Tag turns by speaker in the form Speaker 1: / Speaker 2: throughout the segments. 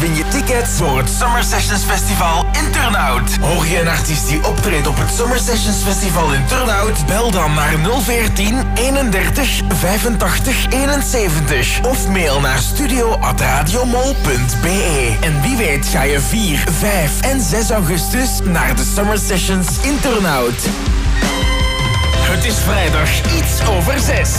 Speaker 1: win je tickets voor het Summer Sessions Festival in Turnhout. Hoor je een artiest die optreedt op het Summer Sessions Festival in Turnhout? Bel dan naar 014 31 85 71 of mail naar studio@radiomol.be. En wie weet ga je 4, 5 en 6 augustus naar de Summer Sessions in Turnhout. Het is vrijdag iets over zes.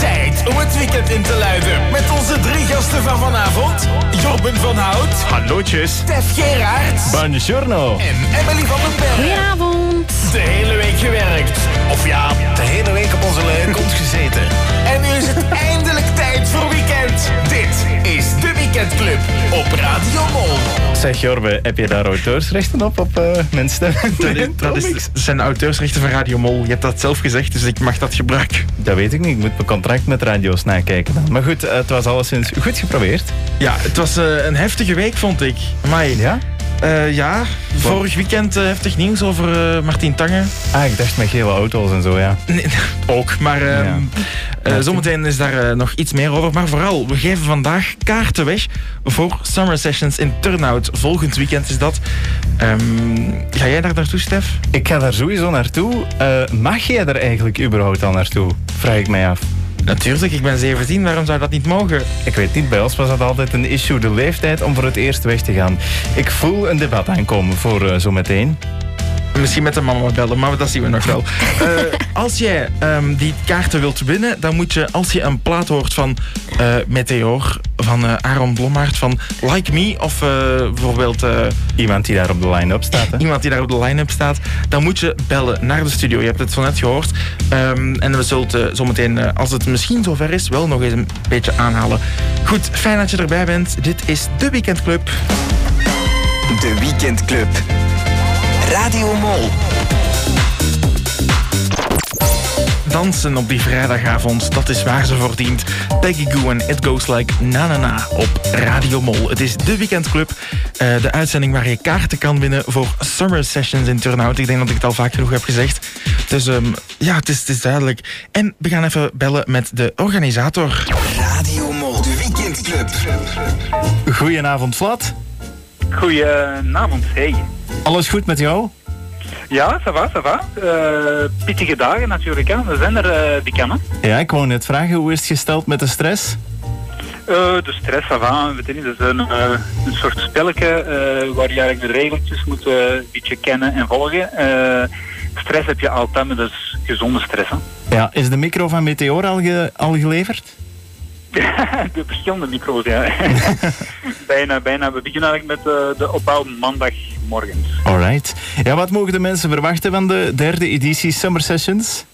Speaker 1: Tijd om het weekend in te luiden met onze drie gasten van vanavond. Jorben van Hout,
Speaker 2: Hallootjes.
Speaker 1: Stef Geraerts
Speaker 2: Buongiorno.
Speaker 1: en Emily van den Berg.
Speaker 3: Goedenavond.
Speaker 1: De hele week gewerkt. Of ja, de hele week op onze leuke kont gezeten. En nu is het eindelijk tijd voor weekend. Dit is de Weekendclub op Radio Mol.
Speaker 2: Zeg Jorbe, heb je daar auteursrechten op, op eh, mijn stem?
Speaker 4: Dat, is, dat is, zijn auteursrechten van Radio Mol. Je hebt dat zelf gezegd, dus ik mag dat gebruiken.
Speaker 2: Dat weet ik niet, ik moet mijn contract met radio's nakijken dan. Maar goed, eh, het was alleszins goed geprobeerd.
Speaker 4: Ja, het was eh, een heftige week, vond ik. Amai.
Speaker 2: Ja?
Speaker 4: Eh, ja, vorig weekend eh, heftig nieuws over eh, Martien Tangen.
Speaker 2: Ah, ik dacht met gele auto's en zo, ja.
Speaker 4: Nee, ook, maar ehm,
Speaker 2: Ja.
Speaker 4: eh, zometeen is daar eh, nog iets meer over. Maar vooral, we geven vandaag kaarten weg voor Summer Sessions in Turnhout. Volgend weekend is dat. Ehm, ga jij daar naartoe, Stef?
Speaker 2: Ik ga daar sowieso naartoe. Eh, mag jij er eigenlijk überhaupt al naartoe? Vraag ik mij af.
Speaker 4: Natuurlijk, ik ben 17, waarom zou dat niet mogen?
Speaker 2: Ik weet niet, bij ons was dat altijd een issue, de leeftijd, om voor het eerst weg te gaan. Ik voel een debat aankomen voor eh, zometeen.
Speaker 4: Misschien met de mama bellen, maar dat zien we nog wel. Eh, als jij ehm, die kaarten wilt winnen, dan moet je, als je een plaat hoort van eh, Meteor, van eh, Aaron Blommaert, van Like Me, of eh, bijvoorbeeld eh,
Speaker 2: Iemand die daar op de line-up staat, hè?
Speaker 4: iemand die daar op de line-up staat, dan moet je bellen naar de studio. Je hebt het zo net gehoord. Ehm, en we zullen het, eh, zometeen, eh, als het misschien zover is, wel nog eens een beetje aanhalen. Goed, fijn dat je erbij bent. Dit is de Weekendclub.
Speaker 1: De Weekendclub. Radio Mol.
Speaker 4: Dansen op die vrijdagavond, dat is waar ze voor dient. Peggy Goo en It Goes Like Na Na Na op Radio Mol. Het is de weekendclub, eh, de uitzending waar je kaarten kan winnen voor Summer Sessions in Turnhout. Ik denk dat ik het al vaak genoeg heb gezegd. Dus ehm, ja, het is, het is duidelijk. En we gaan even bellen met de organisator.
Speaker 1: Radio Mol. De Weekendclub.
Speaker 2: Goedenavond, Vlad.
Speaker 5: Goedenavond, hey.
Speaker 2: Alles goed met jou?
Speaker 5: Ja, ça va, ça va. Eh, pittige dagen natuurlijk, hè. We zijn er, eh, die kan, hè.
Speaker 2: Ja, ik wou net vragen, hoe is het gesteld met de stress?
Speaker 5: Eh, de stress, ça va. Weet je niet, dat is een, eh, een soort spelletje eh, waar je eigenlijk de regeltjes moet eh, een beetje kennen en volgen. Eh, stress heb je altijd, maar dat is gezonde stress, hè.
Speaker 2: Ja, is de micro van Meteor al, ge- al geleverd?
Speaker 5: de verschillende micro's, ja. bijna, bijna. We beginnen eigenlijk met eh, de opbouw maandagmorgens.
Speaker 2: Alright. Ja, wat mogen de mensen verwachten van de derde editie Summer Sessions?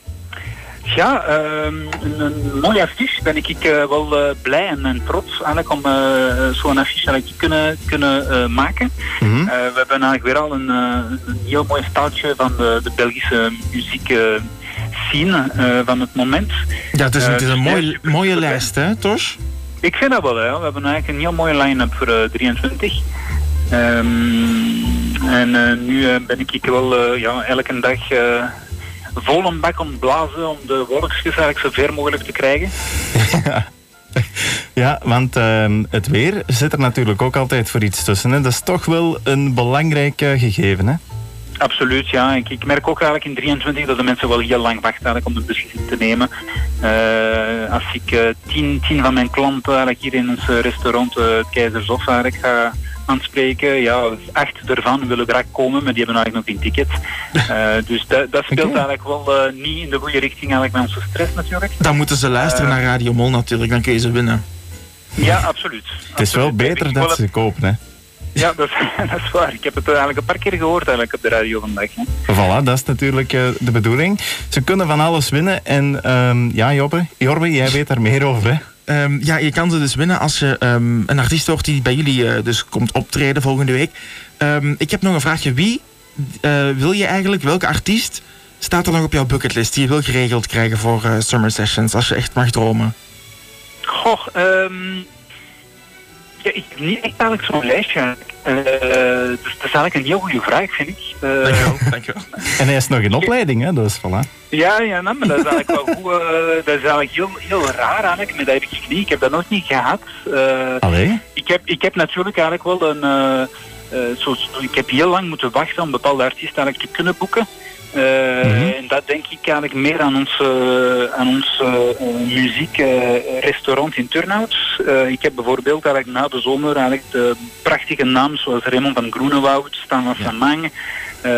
Speaker 5: Ja, ehm, een, een mooie affiche. Ben ik eh, wel eh, blij en, en trots eigenlijk om eh, zo'n affiche eigenlijk te kunnen, kunnen eh, maken. Eh, we hebben eigenlijk weer al een, eh, een heel mooi staaltje van de, de Belgische muziek eh, scene eh, van het moment.
Speaker 4: Ja, het is een, het is een
Speaker 5: Eh,
Speaker 4: mooie,
Speaker 5: supergoed,
Speaker 4: mooie
Speaker 5: hè.
Speaker 4: lijst, hè, Tosh?
Speaker 5: Ik vind dat wel, hè. we hebben eigenlijk een heel mooie line-up voor eh, 23. Ehm, en eh, nu eh, ben ik hier wel eh, ja, elke dag eh, vol een bak om blazen om de wolkjes eigenlijk zo ver mogelijk te krijgen.
Speaker 2: Ja, want ehm, het weer zit er natuurlijk ook altijd voor iets tussen. Hè? Dat is toch wel een belangrijk eh, gegeven. Hè?
Speaker 5: Absoluut, ja. Ik, ik merk ook eigenlijk in 23 dat de mensen wel heel lang wachten eigenlijk om een beslissing te nemen. Eh, als ik eh, tien, tien van mijn klanten eigenlijk hier in ons eh, restaurant eh, het Keizershof eigenlijk ga aanspreken, ja, acht ervan willen graag komen, maar die hebben eigenlijk nog geen ticket. Eh, dus dat, dat speelt
Speaker 2: Oké.
Speaker 5: eigenlijk wel eh, niet in de goede richting eigenlijk met onze stress natuurlijk.
Speaker 4: Dan moeten ze
Speaker 2: Eh.
Speaker 4: luisteren naar Radio Mol natuurlijk, dan kun je ze winnen.
Speaker 5: Ja, absoluut.
Speaker 2: Het is wel beter dat ze kopen. Hè?
Speaker 5: Ja, dat is, dat is waar. Ik heb het eigenlijk een paar keer gehoord eigenlijk op de radio vandaag. hè.
Speaker 2: Voilà, dat is natuurlijk eh, de bedoeling. Ze kunnen van alles winnen. En ehm, ja, Jobbe, Jorbe, jij weet daar meer over. Hè?
Speaker 4: Ehm, ja, je kan ze dus winnen als je ehm, een artiest wordt die bij jullie eh, dus komt optreden volgende week. Ehm, ik heb nog een vraagje. Wie eh, wil je eigenlijk, welke artiest staat er nog op jouw bucketlist die je wil geregeld krijgen voor eh, Summer Sessions, als je echt mag dromen?
Speaker 5: Goh, ehm ja, ik heb niet echt eigenlijk zo'n lijstje. Eh, dus dat is eigenlijk een heel goede vraag, vind ik. Eh,
Speaker 4: Dankjewel, dankjewel.
Speaker 2: En hij is nog in opleiding, hè? dus voilà.
Speaker 5: ja, ja nee, maar dat is eigenlijk wel goed. eh, dat is eigenlijk heel, heel raar eigenlijk, maar dat heb ik niet. Ik heb dat nog niet gehad. Eh,
Speaker 2: Allee.
Speaker 5: ik, heb, ik heb natuurlijk eigenlijk wel een... eh, eh, zo, zo- ik heb heel lang moeten wachten om bepaalde artiesten eigenlijk te kunnen boeken. Eh, En dat denk ik eigenlijk meer aan ons, eh, aan ons muziekrestaurant in Turnhout. Eh, ik heb bijvoorbeeld eigenlijk na de zomer eigenlijk de prachtige namen zoals Raymond van Groenewoud, Stan van Van Mang. eh,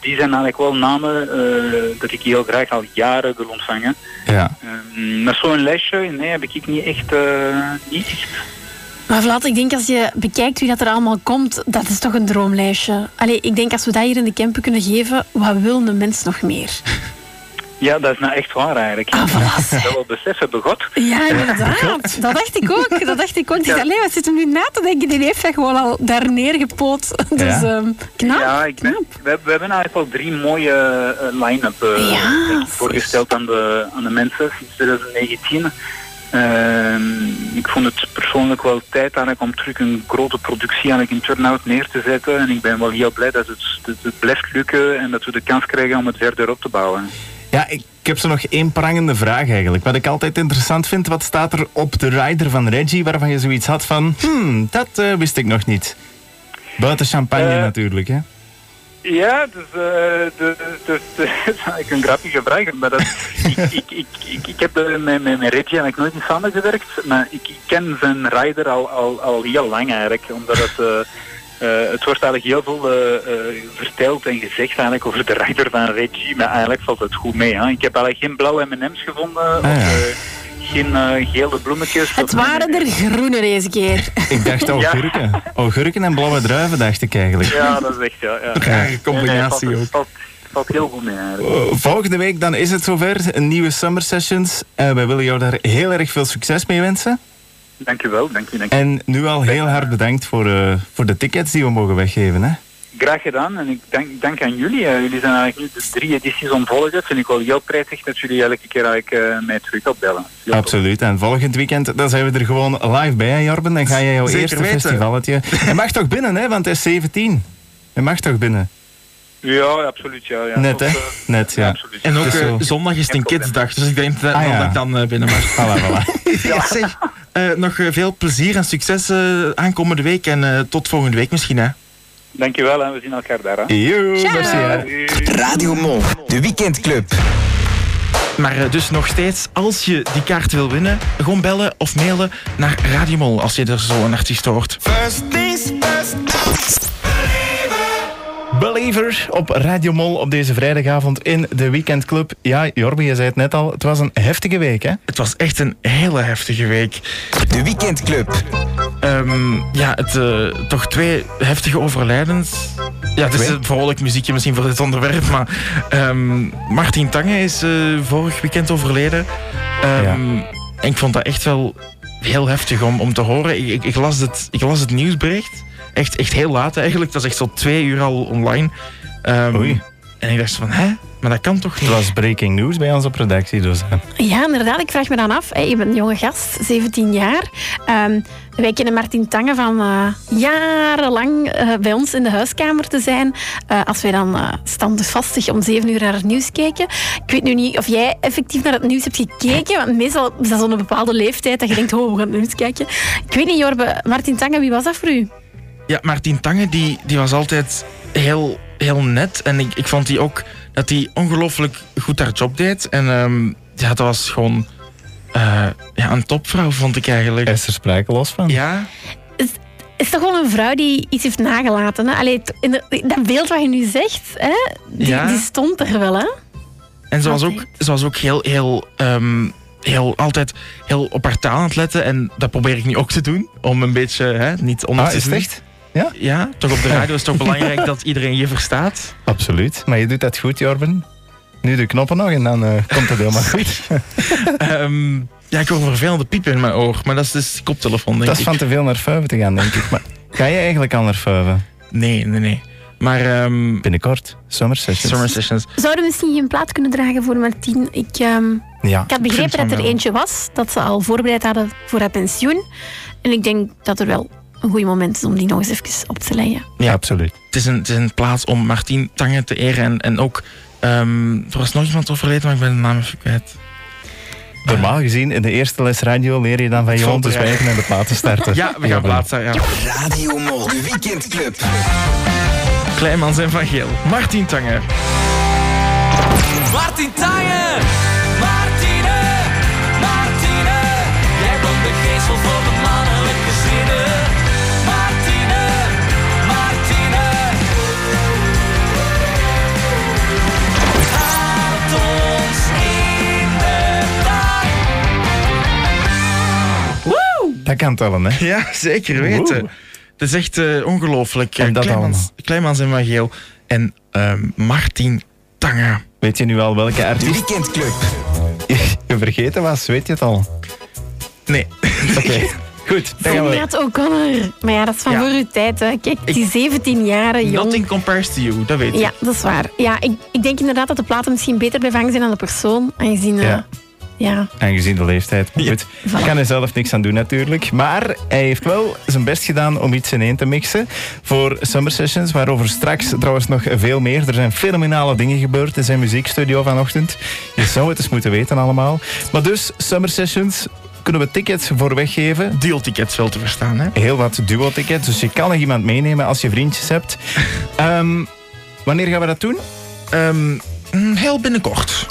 Speaker 5: die zijn eigenlijk wel namen eh, dat ik heel graag al jaren wil ontvangen.
Speaker 2: Ja.
Speaker 5: Ehm, maar zo'n lesje, nee, heb ik niet echt... eh, niet echt
Speaker 3: Maar Vlad, ik denk als je bekijkt wie dat er allemaal komt, dat is toch een droomlijstje. Allee, ik denk als we dat hier in de camper kunnen geven, wat wil een mens nog meer?
Speaker 5: Ja, dat is nou echt waar eigenlijk.
Speaker 3: Ah, voilà.
Speaker 5: Dat wel besef hebben God.
Speaker 3: Ja, inderdaad. Dat dacht ik ook. Dat dacht ik ook. Ik dacht, allee, wat zit hem nu na te denken? Die heeft dat gewoon al daar neergepoot. Dus
Speaker 2: Ja.
Speaker 3: ehm knap.
Speaker 5: ja, ik ben,
Speaker 3: knap.
Speaker 5: we, hebben- we hebben eigenlijk al drie mooie eh, line-up eh,
Speaker 3: Ja,
Speaker 5: denk ik, voorgesteld aan de, aan de mensen sinds 2019. Ehm, ik vond het persoonlijk wel tijd eigenlijk om terug een grote productie eigenlijk in turnout neer te zetten. En ik ben wel heel blij dat het, dat het blijft lukken en dat we de kans krijgen om het verder op te bouwen.
Speaker 2: Ja, ik, ik heb zo nog één prangende vraag eigenlijk. Wat ik altijd interessant vind, wat staat er op de rider van Reggie waarvan je zoiets had van, hmm, dat eh, wist ik nog niet. Buiten champagne
Speaker 5: Eh.
Speaker 2: natuurlijk, hè?
Speaker 5: Ja, dus, eh de, de, de, dat is eigenlijk een grappige vraag, maar dat, ik, ik, ik, ik, ik heb eh, met, met, met Reggie eigenlijk nooit niet samengewerkt, maar ik, ik ken zijn rider al, al, al heel lang eigenlijk, omdat het, eh, eh, het wordt eigenlijk heel veel eh, eh, verteld en gezegd eigenlijk over de rider van Reggie, maar eigenlijk valt het goed mee. Hè? Ik heb eigenlijk geen blauwe M&M's
Speaker 4: Ah,
Speaker 5: gevonden,
Speaker 2: ja.
Speaker 5: of eh, geen eh, gele bloemetjes.
Speaker 3: Het waren er groene deze keer.
Speaker 2: Ik dacht augurken. Augurken en blauwe druiven dacht ik eigenlijk.
Speaker 5: Ja, dat is echt, ja. ja.
Speaker 4: Rare combinatie
Speaker 5: Nee, nee,
Speaker 4: ook.
Speaker 5: valt, valt, valt heel goed mee eigenlijk.
Speaker 2: Uh, Volgende week dan is het zover, een nieuwe Summer Sessions. Eh, wij willen jou daar heel erg veel succes mee wensen.
Speaker 5: Dank u wel, dank u, dank u.
Speaker 2: En nu al heel hard bedankt voor, eh, voor de tickets die we mogen weggeven. Hè?
Speaker 5: Graag gedaan en ik denk, denk aan jullie. Eh, jullie zijn eigenlijk nu de drie edities ontvolgen. Dat vind ik wel heel prettig dat jullie elke keer eigenlijk, eh, mij terug opbellen. Heel tof.
Speaker 2: Absoluut. En volgend weekend dan zijn we er gewoon live bij, hè, Jorben. Dan ga je jouw
Speaker 4: Zeker
Speaker 2: eerste
Speaker 4: weten.
Speaker 2: festivalletje... Je mag toch binnen, hè? want het is 17. Je mag toch binnen?
Speaker 5: Ja, absoluut. Ja, ja.
Speaker 2: Net, hè?
Speaker 5: Tot, eh,
Speaker 2: Net, ja.
Speaker 5: absoluut.
Speaker 4: En ook
Speaker 2: Dus
Speaker 4: eh,
Speaker 2: zo.
Speaker 4: zondag is het een
Speaker 5: Geen probleem.
Speaker 4: kidsdag, dus ik denk dat,
Speaker 2: Ah, ja.
Speaker 4: dat ik dan eh, binnen mag.
Speaker 2: Voilà, voilà.
Speaker 4: Ja, zeg, eh, nog eh, veel plezier en succes eh, aankomende week en eh, tot volgende week misschien. Hè.
Speaker 5: Dankjewel en we zien elkaar daar. Hè.
Speaker 2: Joe, merci. hè.
Speaker 6: Eh,
Speaker 5: Adieu.
Speaker 1: Radio Mol, de weekendclub.
Speaker 4: Maar eh, dus nog steeds, als je die kaart wil winnen, gewoon bellen of mailen naar Radiomol als je er zo een artiest hoort.
Speaker 2: Believer op Radio Mol op deze vrijdagavond in de Weekendclub. Ja, Jorben, je zei het net al, het was een heftige week, hè?
Speaker 4: Het was echt een hele heftige week.
Speaker 1: De weekendclub.
Speaker 4: Ehm, ja, het, eh, toch twee heftige overlijdens. Ja, het is
Speaker 2: Twee?
Speaker 4: een vrolijk muziekje misschien voor dit onderwerp, maar ehm, Martin Tange is eh, vorig weekend overleden. Ehm, En ik vond dat echt wel heel heftig om, om te horen. Ik, ik, ik, las het, ik las het nieuwsbericht, echt, echt heel laat eigenlijk. Dat is echt zo twee uur al online. Ehm,
Speaker 2: Oei.
Speaker 4: En ik dacht van, hè? Maar dat kan toch niet?
Speaker 2: Het was breaking news bij ons op redactie, dus... hè.
Speaker 3: Ja, inderdaad. Ik vraag me dan af. hè, je bent een jonge gast, 17 jaar. Ehm, wij kennen Martin Tange van eh, jarenlang eh, bij ons in de huiskamer te zijn. Eh, als wij dan eh standvastig om 7 uur naar het nieuws kijken. Ik weet nu niet of jij effectief naar het nieuws hebt gekeken. Want meestal is dat zo'n bepaalde leeftijd dat je denkt, oh, we gaan het nieuws kijken. Ik weet niet, Jorbe, Martin Tange, wie was dat voor u?
Speaker 4: Ja, Martin Tange die, die was altijd heel, heel net. En ik, ik vond die ook dat hij ongelooflijk goed haar job deed. En ehm, ja, dat was gewoon eh, ja, een topvrouw, vond ik eigenlijk.
Speaker 2: Is er sprake los van?
Speaker 4: Ja,
Speaker 3: Het is toch wel een vrouw die iets heeft nagelaten. Hè? Allee, t- in de- dat beeld wat je nu zegt, hè? Die,
Speaker 4: Ja.
Speaker 3: die stond er wel, hè?
Speaker 4: en ze was ook, ze was ook heel, heel, ehm, heel, altijd heel op haar taal aan het letten. En dat probeer ik nu ook te doen, om een beetje hè, niet onder
Speaker 2: Ah,
Speaker 4: te
Speaker 2: is het
Speaker 4: doen.
Speaker 2: echt?
Speaker 4: Ja, toch op de radio is het toch belangrijk dat iedereen je verstaat.
Speaker 2: Absoluut. Maar je doet dat goed, Jorben. Nu de knoppen nog en dan eh, komt het helemaal goed.
Speaker 4: Ehm, ja, ik hoor vervelende piepen in mijn oor, maar dat is dus die koptelefoon, denk
Speaker 2: Dat is
Speaker 4: ik.
Speaker 2: van te veel naar vuiven te gaan, denk ik. Maar ga je eigenlijk al naar vuiven?
Speaker 4: Nee, nee, nee. Maar ehm,
Speaker 2: Binnenkort, Summer Sessions.
Speaker 4: Summer Sessions.
Speaker 3: Zouden we misschien geen plaat kunnen dragen voor Martien? Ik, ehm,
Speaker 2: Ja.
Speaker 3: ik had
Speaker 4: vind
Speaker 3: begrepen
Speaker 4: van
Speaker 3: dat er
Speaker 4: wel.
Speaker 3: eentje was, dat ze al voorbereid hadden voor haar pensioen. En ik denk dat er wel een goed moment is om die nog eens even op te leggen.
Speaker 4: Ja.
Speaker 2: absoluut.
Speaker 4: Het is, een, het is een plaats om Martien Tangen te eren. En, en ook, ehm, er was nog iemand overleden, maar ik ben de naam even kwijt.
Speaker 2: Normaal gezien, in de eerste les radio leer je dan van je
Speaker 4: Vond
Speaker 2: hond te
Speaker 4: er-
Speaker 2: zwijgen en de plaat te starten.
Speaker 4: Ja, we gaan plaatsen. Ja.
Speaker 1: Radio Mol, de weekendclub.
Speaker 4: Kleinmans en Van Geel. Martien Tangen.
Speaker 7: Martin Taaien. Martine, Martine. Jij bent de geestel voor de mannelijke zinnen. Martine, Martine. Houd ons in de tuin.
Speaker 2: Dat kan tellen, hè?
Speaker 4: Ja, zeker weten.
Speaker 2: Wow.
Speaker 4: Het is echt eh, ongelooflijk.
Speaker 2: En
Speaker 4: Eh,
Speaker 2: dat
Speaker 4: Kleinmans,
Speaker 2: allemaal.
Speaker 4: Kleinmans en Van Geel. En ehm, Martien Tangen.
Speaker 2: Weet je nu al welke
Speaker 1: De
Speaker 2: artiest
Speaker 1: weekendclub.
Speaker 2: je vergeten was? Weet je het al?
Speaker 4: Nee.
Speaker 2: Oké, goed. Dan gaan we.
Speaker 3: Sinead O'Connor. Maar ja, dat is van
Speaker 4: Ja.
Speaker 3: voor uw tijd. Hè. Kijk, die 17 jaren jong.
Speaker 4: Nothing compares to you, dat weet ik.
Speaker 3: Ja, dat is waar. Ja, ik, ik denk inderdaad dat de platen misschien beter bevangen zijn aan de persoon. Aangezien... eh,
Speaker 2: Ja.
Speaker 3: ja.
Speaker 2: Aangezien de leeftijd. Goed. Ik kan er zelf niks aan doen natuurlijk. Maar hij heeft wel zijn best gedaan om iets ineen te mixen. Voor Summer Sessions, waarover straks trouwens nog veel meer. Er zijn fenomenale dingen gebeurd in zijn muziekstudio vanochtend. Je zou het eens moeten weten allemaal. Maar dus, Summer Sessions kunnen we tickets voor weggeven.
Speaker 4: Dealtickets wel te verstaan, hè?
Speaker 2: heel wat duo-tickets. Dus je kan nog iemand meenemen als je vriendjes hebt. Ehm, wanneer gaan we dat doen?
Speaker 4: Ehm, mm, heel binnenkort.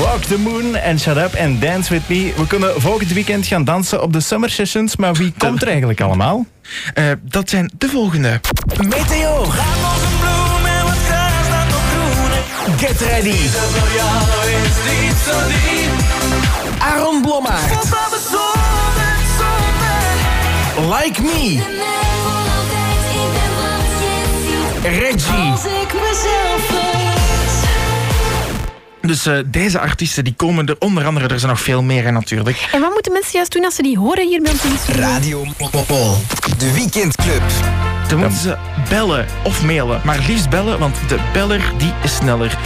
Speaker 2: Walk the Moon en Shut Up and Dance With Me. We kunnen volgend weekend gaan dansen op de Summer Sessions. Maar wie komt er eigenlijk allemaal?
Speaker 4: Eh, dat zijn de volgende.
Speaker 1: Meteo. Get ready. Aaron Blommaert. Like me. Reggie.
Speaker 4: Dus eh, deze artiesten die komen er onder andere, er zijn nog veel meer hè, natuurlijk.
Speaker 3: En wat moeten mensen juist doen als ze die horen hier bij ons in de studio?
Speaker 1: Radio Mol. De weekendclub.
Speaker 4: Dan moeten ze bellen of mailen. Maar liefst bellen, want de beller die is sneller.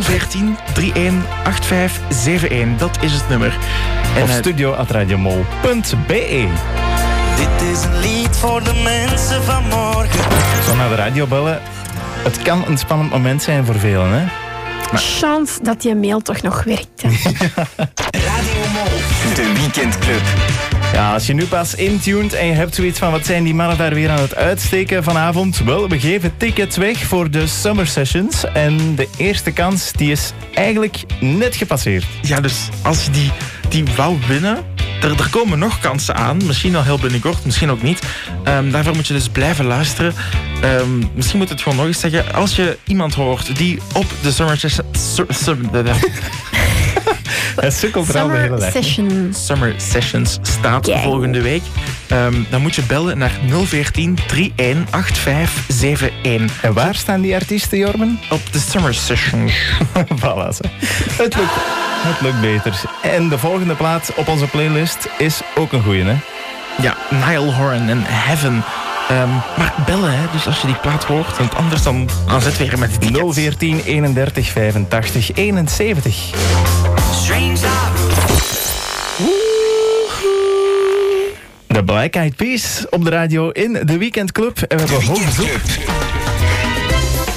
Speaker 4: 014 318571, dat is het nummer. En,
Speaker 2: Op
Speaker 4: eh,
Speaker 2: studio.radiomol.be
Speaker 7: Dit is een lied voor de mensen van morgen.
Speaker 2: Zo naar de radio bellen. Het kan een spannend moment zijn voor velen. Hè?
Speaker 3: Chance dat je mail toch nog werkt. hè.
Speaker 1: Radio Mol. De weekendclub.
Speaker 2: Ja, als je nu pas intuned en je hebt zoiets van wat zijn die mannen daar weer aan het uitsteken vanavond? Wel, we geven tickets weg voor de Summer Sessions. En de eerste kans die is eigenlijk net gepasseerd.
Speaker 4: ja, dus als je die, die wou winnen, er, er komen nog kansen aan. Misschien al heel binnenkort, misschien ook niet. Ehm, daarvoor moet je dus blijven luisteren. Ehm, misschien moet ik het gewoon nog eens zeggen. Als je iemand hoort die op de Summer Session... Sur- sur- de- de-
Speaker 2: Het sukkelt er al de hele
Speaker 3: Summer
Speaker 2: dag.
Speaker 3: Session.
Speaker 4: Summer Sessions staat
Speaker 3: Kijk.
Speaker 4: volgende week. Ehm, dan moet je bellen naar 014 318571
Speaker 2: En waar staan die artiesten, Jormen?
Speaker 4: op de Summer Sessions.
Speaker 2: voilà, ze. Het lukt. Het lukt beter. En de volgende plaat op onze playlist is ook een goeie, hè?
Speaker 4: Ja, Nile Horan en Heaven. Ehm, maar bellen, hè, dus als je die plaat hoort, want anders dan, dan zit weer met die
Speaker 2: 014 31 85 71. De Black Eyed Peas op de radio in de weekendclub. En we hebben hoog bezoek,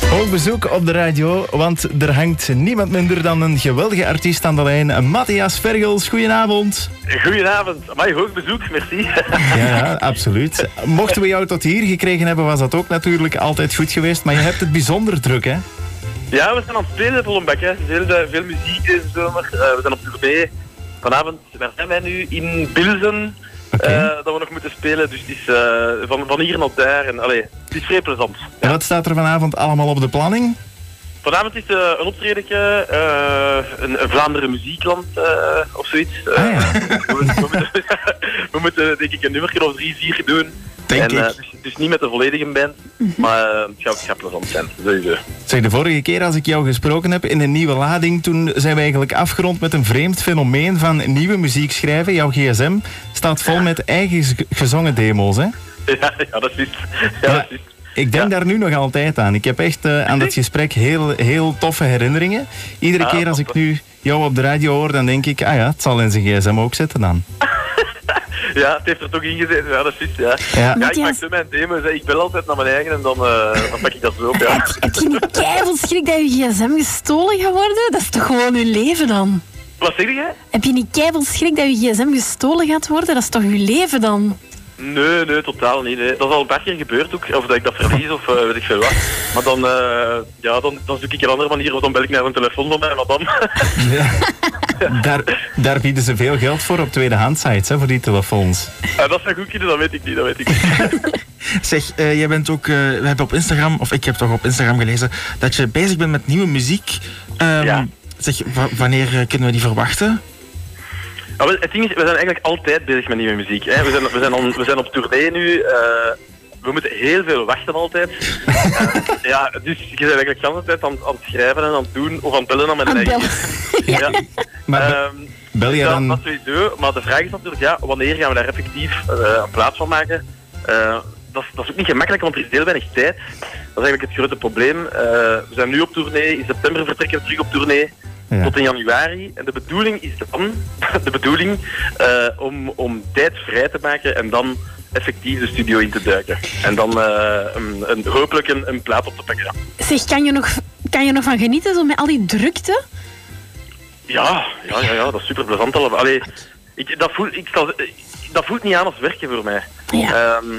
Speaker 2: hoog bezoek op de radio, want er hangt niemand minder dan een geweldige artiest aan de lijn. Matthias Vergels, goedenavond.
Speaker 6: Goedenavond. Mij hoog bezoek, merci.
Speaker 2: Ja, ja, absoluut. Mochten we jou tot hier gekregen hebben, was dat ook natuurlijk altijd goed geweest. Maar je hebt het bijzonder druk, hè?
Speaker 6: ja, we zijn aan het spelen in Vollenbek. Hè. Veel, eh, veel muziek deze zomer. Eh, we zijn op tournee. Vanavond waar zijn wij nu in Bilzen.
Speaker 2: Oké.
Speaker 6: eh, dat we nog moeten spelen. Dus het is eh, van, van hier naar daar. En, allee, het is vrij plezant.
Speaker 2: En wat staat er vanavond allemaal op de planning?
Speaker 6: Vanavond is eh, een optredentje, eh, een, een Vlaanderen muziekland eh, of zoiets. Eh,
Speaker 2: Ah, ja.
Speaker 6: we, we moeten, we moeten, denk ik een nummertje of drie, vier doen.
Speaker 4: Denk
Speaker 6: en, eh,
Speaker 4: ik.
Speaker 6: dus, dus niet met de volledige band, maar eh, het, gaat, het gaat plezant zijn, sowieso.
Speaker 2: Zeg, de vorige keer als ik jou gesproken heb in een nieuwe lading, toen zijn we eigenlijk afgerond met een vreemd fenomeen van nieuwe muziek schrijven. Jouw gsm staat vol met eigen gez- gezongen demo's, hè?
Speaker 6: Ja, ja, dat is het. Ja, dat is het.
Speaker 2: Ik denk daar nu nog altijd aan. Ik heb echt eh, aan dat gesprek heel, heel toffe herinneringen. Iedere
Speaker 6: Ah,
Speaker 2: keer als ik nu jou op de radio hoor, dan denk ik, ah ja, het zal in zijn gsm ook zitten dan.
Speaker 6: ja, het heeft er toch in gezeten. Ja, dat is juist, ja.
Speaker 2: Ja.
Speaker 6: Ja, ik maak
Speaker 3: Matthias.
Speaker 6: zo mijn thema's. hè. Ik bel altijd naar mijn eigen en dan, eh, dan pak ik dat zo op, ja.
Speaker 3: Heb, heb je niet keiveel schrik dat je gsm gestolen gaat worden? Dat is toch gewoon je leven dan?
Speaker 6: Wat zeg jij?
Speaker 3: Heb je niet keiveel schrik dat je gsm gestolen gaat worden? Dat is toch je leven dan?
Speaker 6: Nee, nee, totaal niet. nee. Dat is al een paar keer gebeurd ook. Of dat ik dat verlies of eh, weet ik veel wat. Maar dan, eh, ja, dan, dan zoek ik een andere manier of dan bel ik naar een telefoonnummer. Maar dan...
Speaker 2: Daar, daar bieden ze veel geld voor op tweedehands sites, hè, voor die telefoons.
Speaker 6: Ja, dat zijn goedkinderen, dat weet ik niet, dat weet ik niet.
Speaker 4: Zeg, eh, jij bent ook, eh, we hebben op Instagram, of ik heb toch op Instagram gelezen, dat je bezig bent met nieuwe muziek. Ehm,
Speaker 6: Ja.
Speaker 4: Zeg, wa- wanneer eh, kunnen we die verwachten?
Speaker 6: Ja, wel, het ding is, we zijn eigenlijk altijd bezig met nieuwe muziek. Hè. We, zijn, we, zijn on- we zijn op tournee nu. eh, we moeten heel veel wachten altijd. Eh, ja, dus je bent eigenlijk de hele tijd aan, aan het schrijven en aan het doen of aan het bellen aan mijn
Speaker 8: Ah,
Speaker 3: Aan
Speaker 6: eigen.
Speaker 3: bellen.
Speaker 6: Ja.
Speaker 2: Maar be-
Speaker 6: Ehm,
Speaker 2: bel je
Speaker 6: ja,
Speaker 2: dan...
Speaker 6: dat sowieso. Maar de vraag is natuurlijk, ja, wanneer gaan we daar effectief eh, een plaats van maken? Eh, dat, is, dat is ook niet gemakkelijk, want er is heel weinig tijd. Dat is eigenlijk het grote probleem. Eh, we zijn nu op tournee. In september vertrekken we terug op tournee.
Speaker 2: Ja.
Speaker 6: Tot in januari. En de bedoeling is dan, de bedoeling, eh, om, om tijd vrij te maken en dan effectief de studio in te duiken. En dan eh, een, een, hopelijk een, een plaat op te pakken.
Speaker 3: Zeg, kan je, nog, kan je nog van genieten zo met al die drukte?
Speaker 6: Ja, ja, ja, ja dat is super plezant allemaal. Allee, ik, dat, voelt, ik, zal- dat voelt niet aan als werken voor mij.
Speaker 3: Ja.
Speaker 6: Ehm,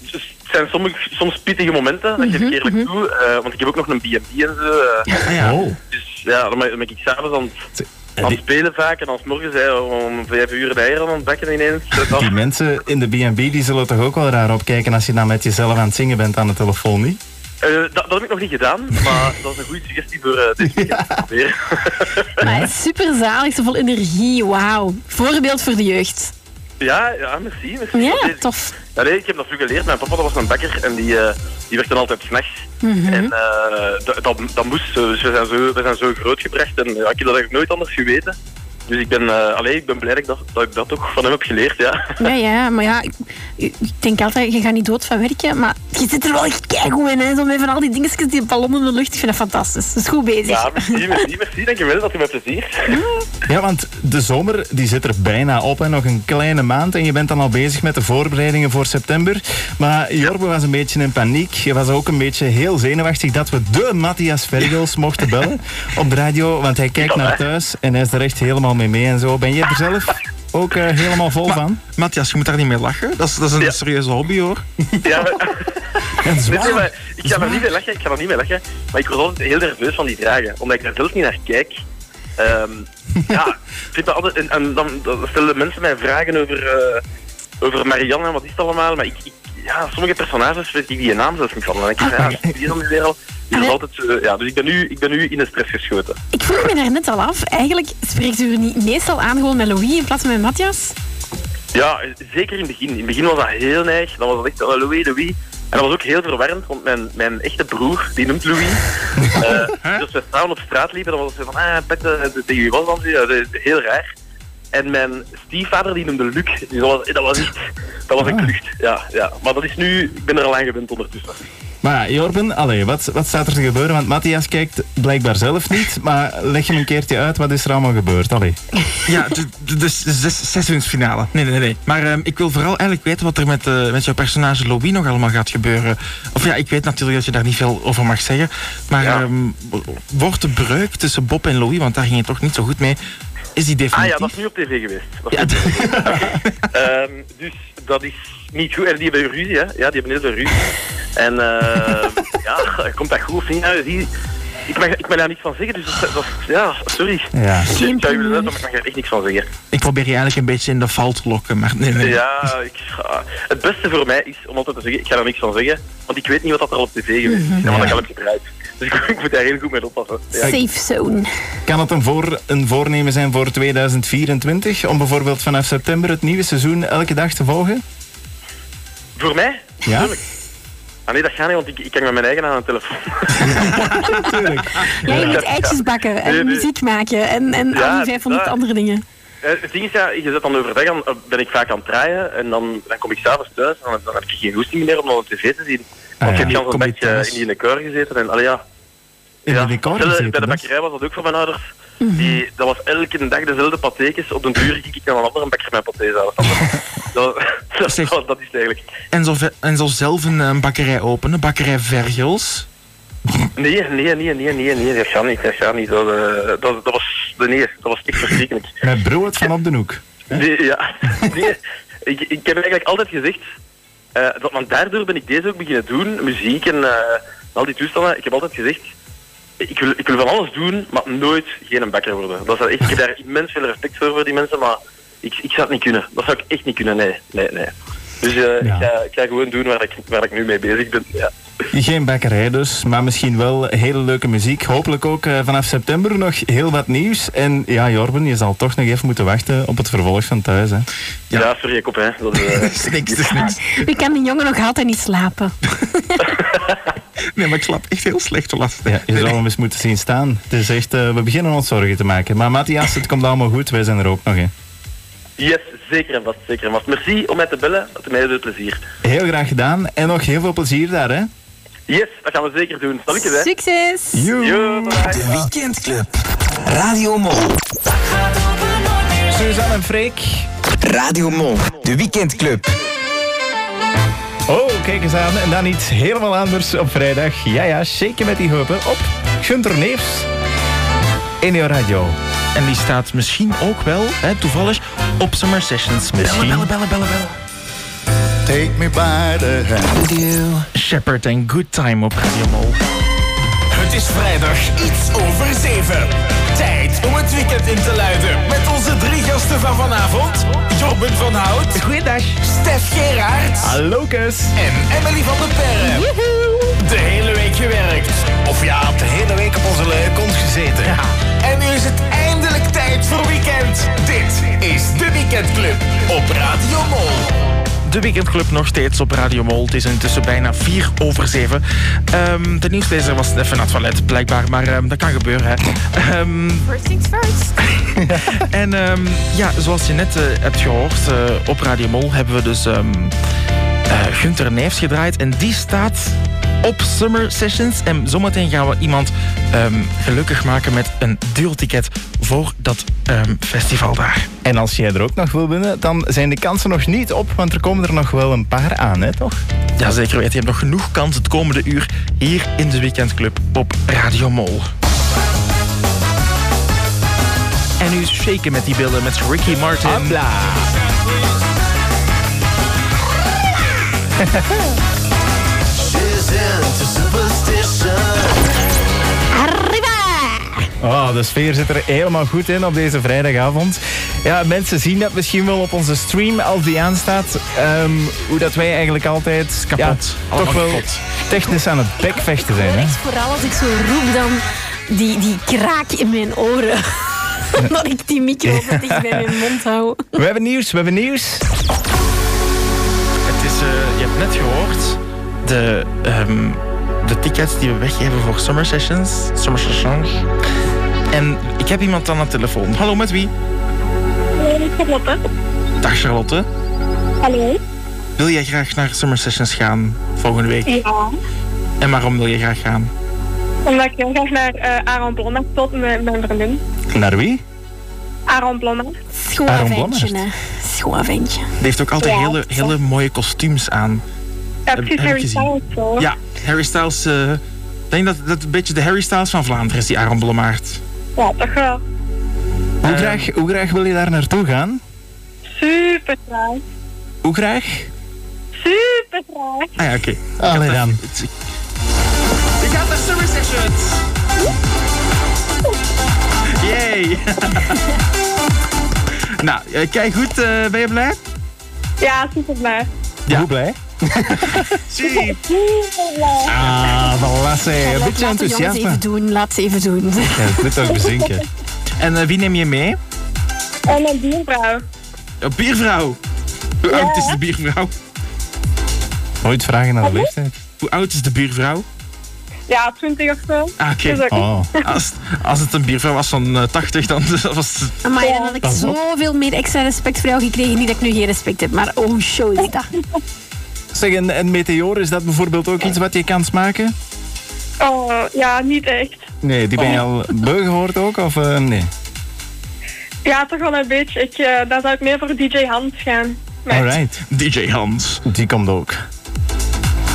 Speaker 6: dus het zijn sommige, soms pittige momenten, dat
Speaker 3: Mhm,
Speaker 6: geef ik eerlijk toe. eh, want ik heb ook nog een B&B en zo. eh,
Speaker 2: Oh.
Speaker 6: dus ja, dan ben dan ben ik s'avonds aan, het- aan het spelen vaak. En als morgens hè, om vijf uur de eieren aan het bakken ineens. Eh, Dat,
Speaker 2: Die mensen in de B&B die zullen toch ook wel raar opkijken als je dan met jezelf aan het zingen bent aan de telefoon, niet?
Speaker 6: eh, dat, dat heb ik nog niet gedaan, maar dat is een goede suggestie voor eh, dit weekend. Weer.
Speaker 3: Maar super zalig, zo vol energie, wauw. Voorbeeld voor de jeugd.
Speaker 6: Ja, ja, merci. merci. Dat
Speaker 3: Ja,
Speaker 6: is-
Speaker 3: tof.
Speaker 6: Ja, nee, ik heb dat vroeger geleerd. Mijn papa dat was een bakker en die, eh die werd dan altijd s'nachts. En eh, dat, dat, dat moest. zo. Dus we zijn zo, we zijn zo grootgebracht en ja, ik heb dat eigenlijk nooit anders geweten. Dus ik ben, eh allee, ik ben blij dat, ik dat- dat ik dat ook van hem heb geleerd, ja.
Speaker 3: Ja, ja, maar ja, ik, ik denk altijd, je gaat niet dood van werken, maar je zit er wel echt keigoed in, hè. Zo met van al die dingetjes, die ballonnen in de lucht, ik vind dat fantastisch. Dat is goed bezig.
Speaker 6: Ja, merci, merci, merci. Dankjewel, dat je met plezier.
Speaker 2: Ja, want de zomer die zit er bijna op en nog een kleine maand en je bent dan al bezig met de voorbereidingen voor september. Maar Jorbe was een beetje in paniek. Je was ook een beetje heel zenuwachtig dat we de Matthias Vergels mochten bellen op de radio, want hij kijkt naar thuis en hij is er echt helemaal mee mee en zo. Ben jij er zelf ook eh, helemaal vol van?
Speaker 4: Matthias, je moet daar niet mee lachen. Dat is, dat is een
Speaker 6: Ja.
Speaker 4: serieuze hobby hoor.
Speaker 6: Ja, maar-
Speaker 2: Ja,
Speaker 6: Nee, nee,
Speaker 2: zwaar.
Speaker 6: maar ik ga er niet mee lachen, ik ga er niet mee lachen. Maar ik word altijd heel nerveus van die vragen, omdat ik daar zelf niet naar kijk. Ehm, ja, ik vind dat altijd, en, en dan, dan stellen mensen mij vragen over, eh, over Marianne en wat is het allemaal. Maar ik, ik- ja, sommige personages weet ik die naam zelfs niet van. En dan denk ik, ja, die is dan nu weer al. Die is altijd, eh, ja, dus ik ben, nu, ik ben nu in de stress geschoten.
Speaker 3: Ik vroeg me daar net al af, eigenlijk spreekt u er niet meestal aan gewoon met Louis in plaats van met Matthias?
Speaker 6: Ja, zeker in het begin. In het begin was dat heel neig. Dan was dat echt eh, Louis, Louis. En dat was ook heel verwarrend, want mijn, mijn echte broer, die noemt Louis. Eh, dus als we samen op straat liepen, dan was het zo van, ah, pak de, de, de, was dan, Ja, de- de- heel raar. En mijn stiefvader, die noemde Luc. Dus dat was, dat was echt, dat was een klucht. Ja, ja. Maar dat is nu, ik ben er al aan gewend ondertussen.
Speaker 2: Maar ja, Jorben, allee, wat, wat staat er te gebeuren? Want Matthias kijkt blijkbaar zelf niet, maar leg hem een keertje uit, wat is er allemaal gebeurd? Allee.
Speaker 4: Ja, de, de, de zes, seizoensfinale. Nee, nee, nee. Maar ehm, ik wil vooral eigenlijk weten wat er met, eh, met jouw personage Lobby nog allemaal gaat gebeuren. Of ja, ik weet natuurlijk dat je daar niet veel over mag zeggen. Maar
Speaker 6: Ja.
Speaker 4: ehm, wordt de breuk tussen Bob en Louis, want daar ging het toch niet zo goed mee, is die
Speaker 6: Ah
Speaker 4: definitief?
Speaker 6: ja, dat is nu op tv geweest. Dat is
Speaker 4: Ja,
Speaker 6: nu op tv geweest. Ehm, dus dat is niet goed. En die hebben ruzie, hè? Ja, die hebben heel veel ruzie. En eh, ja, komt dat goed of niet? Ja, zie, ik, mag, ik mag daar niks van zeggen, dus dat, dat- ja, sorry.
Speaker 2: Ja.
Speaker 6: Ik zou je willen zeggen, maar ik mag daar echt niks van zeggen.
Speaker 4: Ik probeer je eigenlijk een beetje in de val te lokken, maar nee, nee.
Speaker 6: Ja, ik, ga- het beste voor mij is om altijd te zeggen, ik ga daar niks van zeggen, want ik weet niet wat dat er al op tv geweest is.
Speaker 2: Mhm.
Speaker 6: En wat ik al heb gebruikt. Dus ik, ik moet daar heel goed mee oppassen. Ja, ik-
Speaker 3: Safe zone.
Speaker 2: Kan het een, voor, een voornemen zijn voor 2024 om bijvoorbeeld vanaf september het nieuwe seizoen elke dag te volgen?
Speaker 6: voor mij?
Speaker 2: Ja,
Speaker 6: Ah nee, dat gaat niet, want ik, ik hang met mijn eigen aan de telefoon.
Speaker 2: natuurlijk.
Speaker 3: Ja, je moet eitjes bakken en
Speaker 6: Nee, nee.
Speaker 3: muziek maken en, en al
Speaker 6: Ja,
Speaker 3: die 500
Speaker 6: daar.
Speaker 3: andere dingen.
Speaker 6: Eh, Het ding is, ja, je zit dan overdag, aan, eh, ben ik vaak aan het draaien en dan, dan kom ik s'avonds thuis en dan, dan heb ik geen goesting meer om dan op tv te zien. Want
Speaker 2: Ah, ja.
Speaker 6: ik heb de hele
Speaker 4: Kom je
Speaker 6: dag eh,
Speaker 4: thuis?
Speaker 6: in die in de koor gezeten en allee, ja.
Speaker 2: In
Speaker 6: ja.
Speaker 2: de decor
Speaker 6: Zelfs
Speaker 2: gezeten,
Speaker 6: Bij de
Speaker 2: hè? Mhm.
Speaker 6: bakkerij was dat ook voor mijn ouders. Die, dat was elke dag dezelfde patékes. Op den duur ging ik naar een andere bakker mijn paté zelf. Dat, dat,
Speaker 4: Zeg.
Speaker 6: dat is het eigenlijk.
Speaker 4: En zo, ve- en zo zelf een, eh, bakkerij openen, bakkerij Vergels.
Speaker 6: Nee, nee, nee, nee, nee, nee, dat gaat niet, dat gaat niet. Dat, eh, dat, dat was, nee, dat was echt verschrikkelijk.
Speaker 2: Met brood van op de hoek.
Speaker 6: Nee, ja. Nee, ik, ik heb eigenlijk altijd gezegd, eh, dat, want daardoor ben ik deze ook beginnen doen, muziek en eh, al die toestanden. Ik heb altijd gezegd, ik wil, ik wil van alles doen, maar nooit geen bakker worden. Dat is echt, ik heb daar immens veel respect voor, voor die mensen, maar ik, ik zou het niet kunnen. Dat zou ik echt niet kunnen, nee, nee, nee. Dus eh, ik, ga, ik ga gewoon doen waar ik, waar ik nu mee bezig ben. Ja.
Speaker 2: Geen bakkerij dus, maar misschien wel hele leuke muziek. Hopelijk ook eh, vanaf september nog heel wat nieuws. En ja, Jorben, je zal toch nog even moeten wachten op het vervolg van thuis. Hè.
Speaker 6: Ja. sorry, kop, hè. Dat, eh,
Speaker 4: Dat is niks, dat is niks.
Speaker 3: Ik kan die jongen nog altijd niet slapen.
Speaker 4: Nee, maar ik slaap echt heel slecht de laatste
Speaker 2: Ja,
Speaker 4: tijd.
Speaker 2: je zal hem eens moeten zien staan. Het is echt, eh, we beginnen ons zorgen te maken. Maar Matthias, het komt allemaal goed. Wij zijn er ook nog. Hè.
Speaker 6: yes, zeker en vast, zeker en vast. Merci om mij te bellen, het doet mij heel veel plezier.
Speaker 2: Heel graag gedaan en nog heel veel plezier daar. Hè.
Speaker 6: Yes, dat gaan we zeker doen. Salutjes, hè.
Speaker 3: Succes!
Speaker 6: Yo, bye.
Speaker 1: De Weekendclub. Radio Mol.
Speaker 2: Suzanne en Freek.
Speaker 1: Radio Mol. De Weekendclub.
Speaker 2: Oh, kijk eens aan. En dan iets helemaal anders op vrijdag. Ja, ja, shaken met die heupen op Gunter Neefs. In jouw radio.
Speaker 4: En die staat misschien ook wel, hè, toevallig, op Summer Sessions.
Speaker 2: Misschien.
Speaker 4: Bellen, bellen, bellen, bellen.
Speaker 9: Take me by the hand.
Speaker 4: Shepard en Good Time op Radio Mol.
Speaker 1: Het is vrijdag, iets over zeven. Tijd om het weekend in te luiden. Met onze drie gasten van vanavond. Jorben van Hout.
Speaker 4: Goeiedag.
Speaker 1: Stef Gerard.
Speaker 2: Hallo, kus.
Speaker 1: En Emily van den Perre. De hele week gewerkt. Of ja, de hele week op onze leuke kont gezeten. En nu is het eindelijk tijd voor weekend. Dit is de Weekendclub op Radio Mol.
Speaker 4: De weekendclub nog steeds op Radio Mol. Het is intussen bijna 4 over 7. Ehm de nieuwslezer was even naar het toilet, blijkbaar. Maar ehm, dat kan gebeuren, hè. Ehm,
Speaker 3: First things first.
Speaker 4: en ehm, ja, zoals je net eh, hebt gehoord, eh, op Radio Mol hebben we dus ehm eh, Gunther Neefs gedraaid. En die staat op Summer Sessions. En zometeen gaan we iemand ehm, gelukkig maken met een duelticket voor dat ehm, festival daar.
Speaker 2: En als jij er ook nog wil winnen, dan zijn de kansen nog niet op, want er komen er nog wel een paar aan, hè, toch?
Speaker 4: Ja, zeker weten. Je hebt nog genoeg kans het komende uur hier in de Weekendclub op Radio Mol. En nu shaken met die billen met Ricky Martin.
Speaker 7: She's into superstition.
Speaker 3: Arriba!
Speaker 2: Oh, de sfeer zit er helemaal goed in op deze vrijdagavond. Ja, mensen zien dat misschien wel op onze stream als die aanstaat. Ehm, hoe dat wij eigenlijk altijd
Speaker 4: Kapot.
Speaker 2: Ja,
Speaker 4: Allemaal
Speaker 2: toch wel
Speaker 4: kapot.
Speaker 2: technisch aan het bekvechten zijn.
Speaker 3: Ik hoor
Speaker 2: Hè?
Speaker 3: echt vooral als ik zo roep dan die, die kraak in mijn oren. Omdat ik die micro dicht bij mijn mond hou.
Speaker 2: We hebben nieuws, we hebben nieuws.
Speaker 4: Het is, eh, je hebt net gehoord, de, ehm, de tickets die we weggeven voor Summer Sessions. Summer Sessions. En ik heb iemand aan de telefoon. Hallo, met wie?
Speaker 10: Charlotte.
Speaker 4: Dag Charlotte.
Speaker 10: Hallo.
Speaker 4: Wil jij graag naar Summer Sessions gaan volgende week?
Speaker 10: Ja.
Speaker 4: En waarom wil je graag gaan?
Speaker 10: Omdat ik heel graag naar eh Aaron Blommaert tot met mijn vriendin.
Speaker 2: Naar wie?
Speaker 10: Aaron Blommaert.
Speaker 2: Aaron
Speaker 3: Schoon ventje, hè.
Speaker 2: Blommaert.
Speaker 3: Schoon ventje.
Speaker 4: Die heeft ook altijd
Speaker 10: Ja,
Speaker 4: hele,
Speaker 10: dat is
Speaker 4: hele mooie kostuums aan.
Speaker 10: Ja,
Speaker 4: heb ik
Speaker 10: precies Harry
Speaker 4: gezien.
Speaker 10: Styles zo.
Speaker 4: Ja, Harry Styles. eh, Ik denk dat dat een beetje de Harry Styles van Vlaanderen is, die Aaron Blommaert.
Speaker 10: Ja, toch wel.
Speaker 2: Hoe, graag, hoe graag wil je daar naartoe gaan?
Speaker 10: Super traag.
Speaker 2: Hoe graag?
Speaker 10: Super traag.
Speaker 4: Ah ja, oké.
Speaker 2: Allee dan.
Speaker 4: Ik ga naar Summer Sessions! Yay! nou, eh, kijk goed, eh, ben je blij?
Speaker 10: Ja, super blij.
Speaker 4: Ja.
Speaker 2: Hoe blij?
Speaker 4: Zie.
Speaker 10: Super blij.
Speaker 2: Ah, voilà. Een
Speaker 3: Laat-
Speaker 2: beetje
Speaker 3: laat de jongens
Speaker 2: enthousiasme.
Speaker 3: even doen, laat ze even doen.
Speaker 2: Ja, ik moet ook bezinken.
Speaker 4: En eh, wie neem je mee?
Speaker 10: En een biervrouw.
Speaker 4: Een biervrouw! Hoe oud is de biervrouw?
Speaker 2: Nooit vragen naar de leeftijd.
Speaker 4: Hoe oud is de biervrouw?
Speaker 10: Ja, 20 of zo.
Speaker 4: Ah, oké.
Speaker 10: Dus ook
Speaker 2: Oh.
Speaker 4: Als, als het een biervrouw was van eh, 80, dan was het...
Speaker 3: Maar dan had ik
Speaker 2: Pas op.
Speaker 3: zoveel meer extra respect voor jou gekregen. Niet dat ik nu geen respect heb, maar oh, show is dat.
Speaker 2: Zeg, en, en meteor, is dat bijvoorbeeld ook iets wat je kan smaken?
Speaker 10: Oh, ja, niet echt.
Speaker 2: Nee, die ben je al beu gehoord ook? Of eh, nee?
Speaker 10: Ja, toch wel een beetje. Ik, eh daar zou ik meer voor DJ Hans gaan.
Speaker 2: Alright.
Speaker 4: DJ Hans.
Speaker 2: Die komt ook.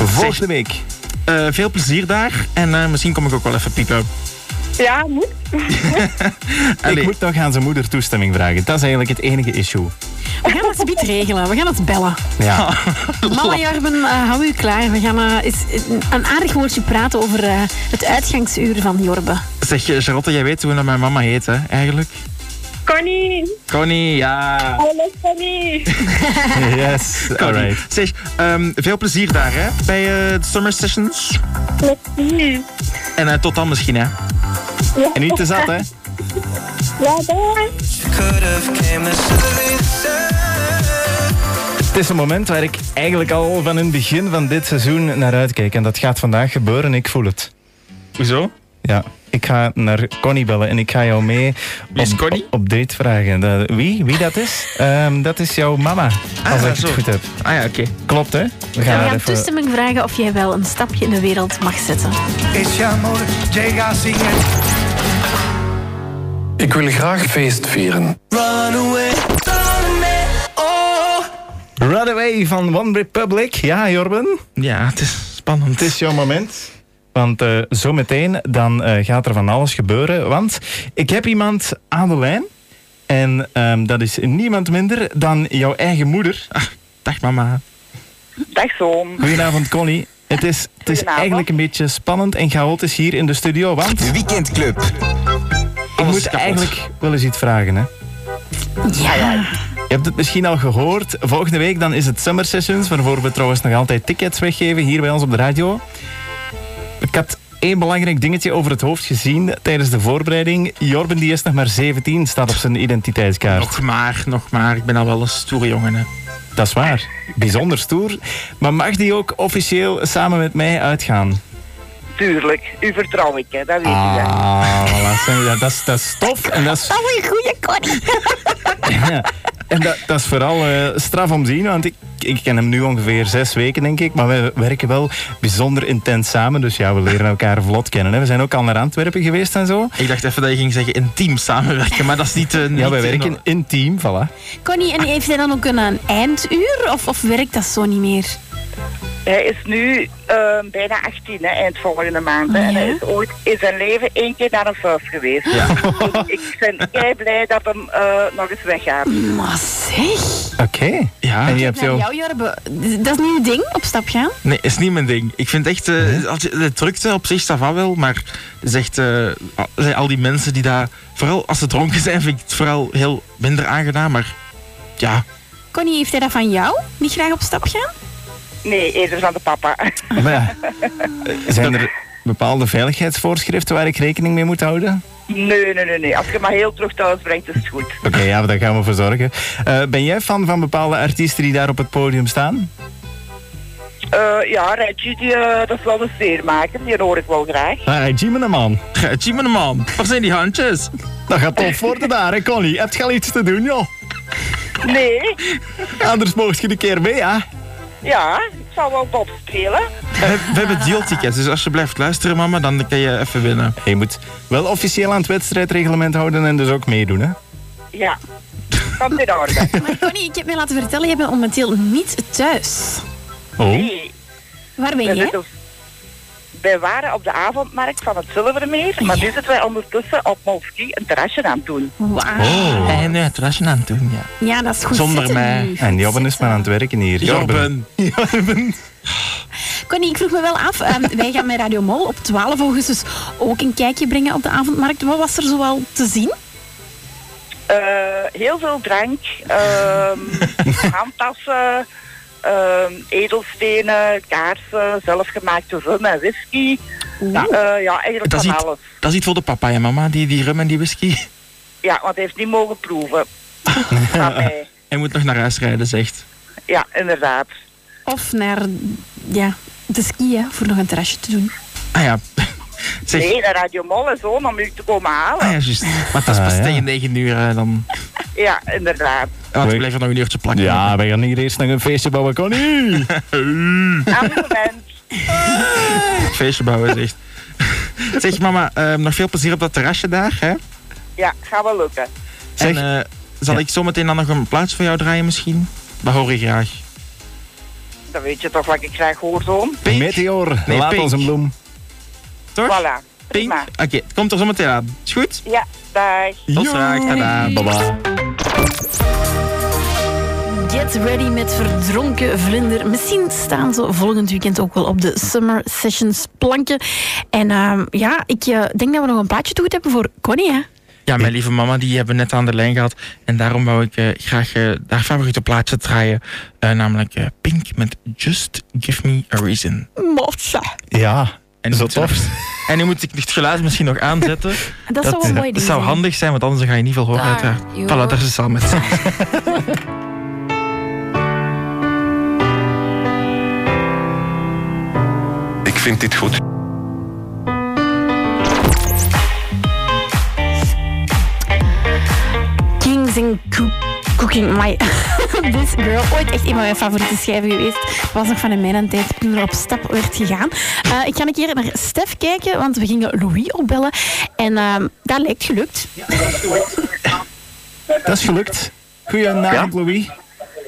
Speaker 2: Volgende week.
Speaker 4: Eh, veel plezier daar en eh, misschien kom ik ook wel even piepen.
Speaker 10: Ja, moet.
Speaker 4: Allee.
Speaker 2: Ik moet nog aan zijn moeder toestemming vragen. Dat is eigenlijk het enige issue.
Speaker 3: We gaan het bied regelen. We gaan het bellen.
Speaker 2: Ja.
Speaker 3: Mama Jarben, eh, hou u klaar. We gaan eh, eens een aardig woordje praten over eh, het uitgangsuur van Jorbe.
Speaker 4: Zeg, eh, Charlotte, jij weet hoe dat mijn mama heet, hè, eigenlijk?
Speaker 10: Connie!
Speaker 4: Connie, ja.
Speaker 10: Hallo Connie!
Speaker 2: Yes.
Speaker 4: Connie.
Speaker 2: Alright.
Speaker 4: Zeg, ehm, veel plezier daar, hè, bij eh, de Summer Sessions.
Speaker 10: Merci.
Speaker 4: En eh, tot dan misschien, hè.
Speaker 2: En niet te zat, hè?
Speaker 10: Ja, dag!
Speaker 7: Could've came to solution.
Speaker 2: Het is een moment waar ik eigenlijk al van in het begin van dit seizoen naar uitkijk. En dat gaat vandaag gebeuren, ik voel het.
Speaker 4: Hoezo?
Speaker 2: Ja. Ik ga naar Connie bellen en ik ga jou mee
Speaker 4: Wie is
Speaker 2: op,
Speaker 4: Connie?
Speaker 2: op, op date vragen. Dat- wie? Wie dat is? Ehm, dat is jouw mama, als ik
Speaker 4: zo.
Speaker 2: het goed heb.
Speaker 4: Ah ja, oké.
Speaker 2: Klopt, hè? We
Speaker 3: We
Speaker 2: gaan,
Speaker 3: gaan
Speaker 2: even...
Speaker 3: toestemming vragen of jij wel een stapje in de wereld mag zetten.
Speaker 1: Ese amor llega sin
Speaker 11: Ik wil graag feest vieren.
Speaker 7: Run away, run away, oh.
Speaker 2: Runaway van One Republic. Ja, Jorben?
Speaker 4: Ja, het is spannend.
Speaker 2: Het is jouw moment. Want eh zometeen dan eh, gaat er van alles gebeuren. Want ik heb iemand aan de lijn. En ehm, dat is niemand minder dan jouw eigen moeder.
Speaker 4: Dag mama.
Speaker 10: Dag zoon.
Speaker 2: Goedenavond, Connie. Het is, het is
Speaker 10: Goedenavond.
Speaker 2: eigenlijk een beetje spannend en chaotisch hier in de studio. Want ik
Speaker 1: Weekendclub.
Speaker 4: Alles
Speaker 2: moet
Speaker 4: kapot.
Speaker 2: eigenlijk wel eens iets vragen. Hè? Ah,
Speaker 3: Ja.
Speaker 2: Je hebt het misschien al gehoord. Volgende week dan is het Summer Sessions, waarvoor we trouwens nog altijd tickets weggeven hier bij ons op de radio. Ik had één belangrijk dingetje over het hoofd gezien tijdens de voorbereiding. Jorben die is nog maar 17, staat op zijn identiteitskaart.
Speaker 4: Nog maar, nog maar. Ik ben al wel een stoere jongen, hè.
Speaker 2: Dat is waar. Bijzonder stoer. Maar mag die ook officieel samen met mij uitgaan?
Speaker 12: Tuurlijk, u vertrouw ik, hè, dat weet u. hè.
Speaker 2: Ah, voilà. Zeg, dat, dat, is, dat is tof en dat is,
Speaker 3: Dat is Oh, een goede Connie.
Speaker 2: ja. en dat, dat is vooral eh, straf om te zien, want ik, ik ken hem nu ongeveer zes weken, denk ik. Maar we werken wel bijzonder intens samen, dus ja, we leren elkaar vlot kennen. Hè. We zijn ook al naar Antwerpen geweest en zo.
Speaker 4: Ik dacht even dat je ging zeggen intiem samenwerken, maar dat is niet... eh,
Speaker 2: Ja,
Speaker 4: niet
Speaker 2: wij werken
Speaker 4: in-
Speaker 2: intiem, voilà.
Speaker 3: Connie, en heeft hij dan ook een, een einduur? Of, of werkt dat zo niet meer?
Speaker 12: Hij is nu eh, bijna 18, hè, eind volgende maand. hè.
Speaker 3: Oh,
Speaker 12: En
Speaker 3: ja?
Speaker 12: hij is ooit in zijn leven één keer naar een vuist geweest. Dus ik ben kei blij dat hem eh, nog eens weggaat.
Speaker 3: Maar zeg.
Speaker 2: Oké.
Speaker 4: Ja.
Speaker 2: En je hebt
Speaker 3: Naar
Speaker 2: zo...
Speaker 3: jou, Jorbe. Dat is niet uw ding, op stap gaan?
Speaker 4: Nee, is niet mijn ding. Ik vind echt, eh, als je- de drukte op zich staat wel, maar het is echt, eh, al- zijn al die mensen die daar, vooral als ze dronken zijn, vind ik het vooral heel minder aangenaam, maar ja.
Speaker 3: Connie, heeft hij dat van jou? Niet graag op stap gaan?
Speaker 12: Nee, eerder van de papa.
Speaker 2: Maar ja, eh, zijn er bepaalde veiligheidsvoorschriften waar ik rekening mee moet houden?
Speaker 12: Nee, nee, nee, nee. Als je maar heel terug thuis brengt, is het goed.
Speaker 2: Oké, ja, daar gaan we voor zorgen. Eh, ben jij fan van bepaalde artiesten die daar op het podium staan?
Speaker 12: Eh, ja, Reggie, die, eh, dat is wel een sfeermaker. Die hoor ik wel graag.
Speaker 2: Ah, Jimmy man.
Speaker 4: Gaatje, mijn man. Waar zijn die handjes?
Speaker 2: Dat gaat tof worden daar, hè, Connie? Heb je al iets te doen, joh?
Speaker 12: Nee,
Speaker 2: Anders mocht je een keer mee, hè?
Speaker 12: ja, ik zal wel Bob spelen.
Speaker 4: We, we hebben dealtickets, dus als je blijft luisteren, mama, dan kan je even winnen.
Speaker 2: Je moet wel officieel aan het wedstrijdreglement houden en dus ook meedoen, hè?
Speaker 12: Ja, komt in orde.
Speaker 3: Maar Connie, ik heb mij laten vertellen, je bent momenteel niet thuis.
Speaker 2: Oh.
Speaker 12: Nee.
Speaker 3: Waar ben jij?
Speaker 12: We zitten- Wij waren op de avondmarkt van het Zilvermeer, maar nu zitten wij ondertussen op Molski een terrasje aan het doen.
Speaker 3: Wauw.
Speaker 2: Oh.
Speaker 4: En nu het rasje aan het doen, ja.
Speaker 3: Ja, dat is goed
Speaker 4: Zonder
Speaker 3: zitten
Speaker 4: mij.
Speaker 3: nu.
Speaker 2: En Jobben is maar aan het werken hier.
Speaker 4: Jorben.
Speaker 2: Jorben.
Speaker 3: Connie, ik vroeg me wel af. ehm, wij gaan met Radio Mol op 12 augustus ook een kijkje brengen op de avondmarkt. Wat was er zoal te zien?
Speaker 12: Eh, heel veel drank, ehm, handtassen, ehm, edelstenen, kaarsen, zelfgemaakte rum en whisky. Eh, ja, eigenlijk
Speaker 4: Dat is,
Speaker 12: van
Speaker 4: iets,
Speaker 12: alles.
Speaker 4: dat is iets voor de papa en mama, die, die rum en die whisky.
Speaker 12: Ja, want hij heeft niet mogen proeven. Van mij.
Speaker 4: Hij moet nog naar huis rijden, zegt.
Speaker 12: Ja, inderdaad.
Speaker 3: Of naar ja, de skiën voor nog een terrasje te doen.
Speaker 4: Ah ja, zeg...
Speaker 12: Nee, naar Radio Mol en zo, om u te komen
Speaker 4: Ah ja,
Speaker 12: halen.
Speaker 4: juist. Maar dat is
Speaker 2: Ah,
Speaker 4: pas
Speaker 2: ja.
Speaker 4: tegen 9 uur, hè, dan...
Speaker 12: Ja, inderdaad.
Speaker 4: Ah,
Speaker 2: Oei.
Speaker 4: ik blijf er nog een uurtje plakken.
Speaker 2: Ja, wij gaan hier eerst nog een feestje bouwen, Connie.
Speaker 12: Abonnement.
Speaker 4: Feestje bouwen, zegt. zeg mama, ehm, nog veel plezier op dat terrasje daar, hè?
Speaker 12: Ja, gaat wel lukken.
Speaker 2: Zeg-
Speaker 4: en eh, zal
Speaker 2: Ja.
Speaker 4: ik zometeen dan nog een plaats voor jou draaien misschien? Dat hoor ik graag.
Speaker 12: Dan weet je toch wat ik graag hoor, zoon?
Speaker 2: Meteor,
Speaker 4: Nee,
Speaker 2: laat
Speaker 4: pink.
Speaker 2: ons een bloem.
Speaker 4: Toch?
Speaker 12: Voilà.
Speaker 4: Pink?
Speaker 12: Prima.
Speaker 4: Oké, het komt er zo meteen aan. Is goed?
Speaker 12: Ja, dag.
Speaker 4: Tot straks. Tada.
Speaker 2: Baba.
Speaker 3: Get ready met verdronken vlinder. Misschien staan ze volgend weekend ook wel op de Summer Sessions planken. En ehm, ja, ik eh, denk dat we nog een plaatje toe hebben voor Connie. Hè?
Speaker 4: Ja, mijn lieve mama, die hebben we net aan de lijn gehad. En daarom wou ik eh, graag eh, haar favoriete plaatje draaien. Eh, namelijk eh, Pink met Just Give Me A Reason.
Speaker 3: Motsa.
Speaker 2: Ja,
Speaker 4: En
Speaker 2: zo
Speaker 4: moet ze nog-
Speaker 2: tof.
Speaker 4: En nu moet ik het geluid misschien nog aanzetten.
Speaker 3: Dat, zou wel een mooi
Speaker 4: dat
Speaker 3: ding
Speaker 4: zou
Speaker 3: zijn.
Speaker 4: handig zijn, want anders ga je niet veel horen
Speaker 3: Daar,
Speaker 4: uiteraard.
Speaker 3: joh.
Speaker 4: Voilà, daar is het al met.
Speaker 6: Ik vind dit goed.
Speaker 3: Kings in Coo- Cooking. My This Girl. Ooit echt een van mijn favoriete schijven geweest. Was nog van in mijn tijd toen er op stap werd gegaan. Eh, ik ga een keer naar Stef kijken, want we gingen Louis opbellen. En ehm, dat lijkt gelukt.
Speaker 2: Dat is gelukt. Goedenavond, Louis.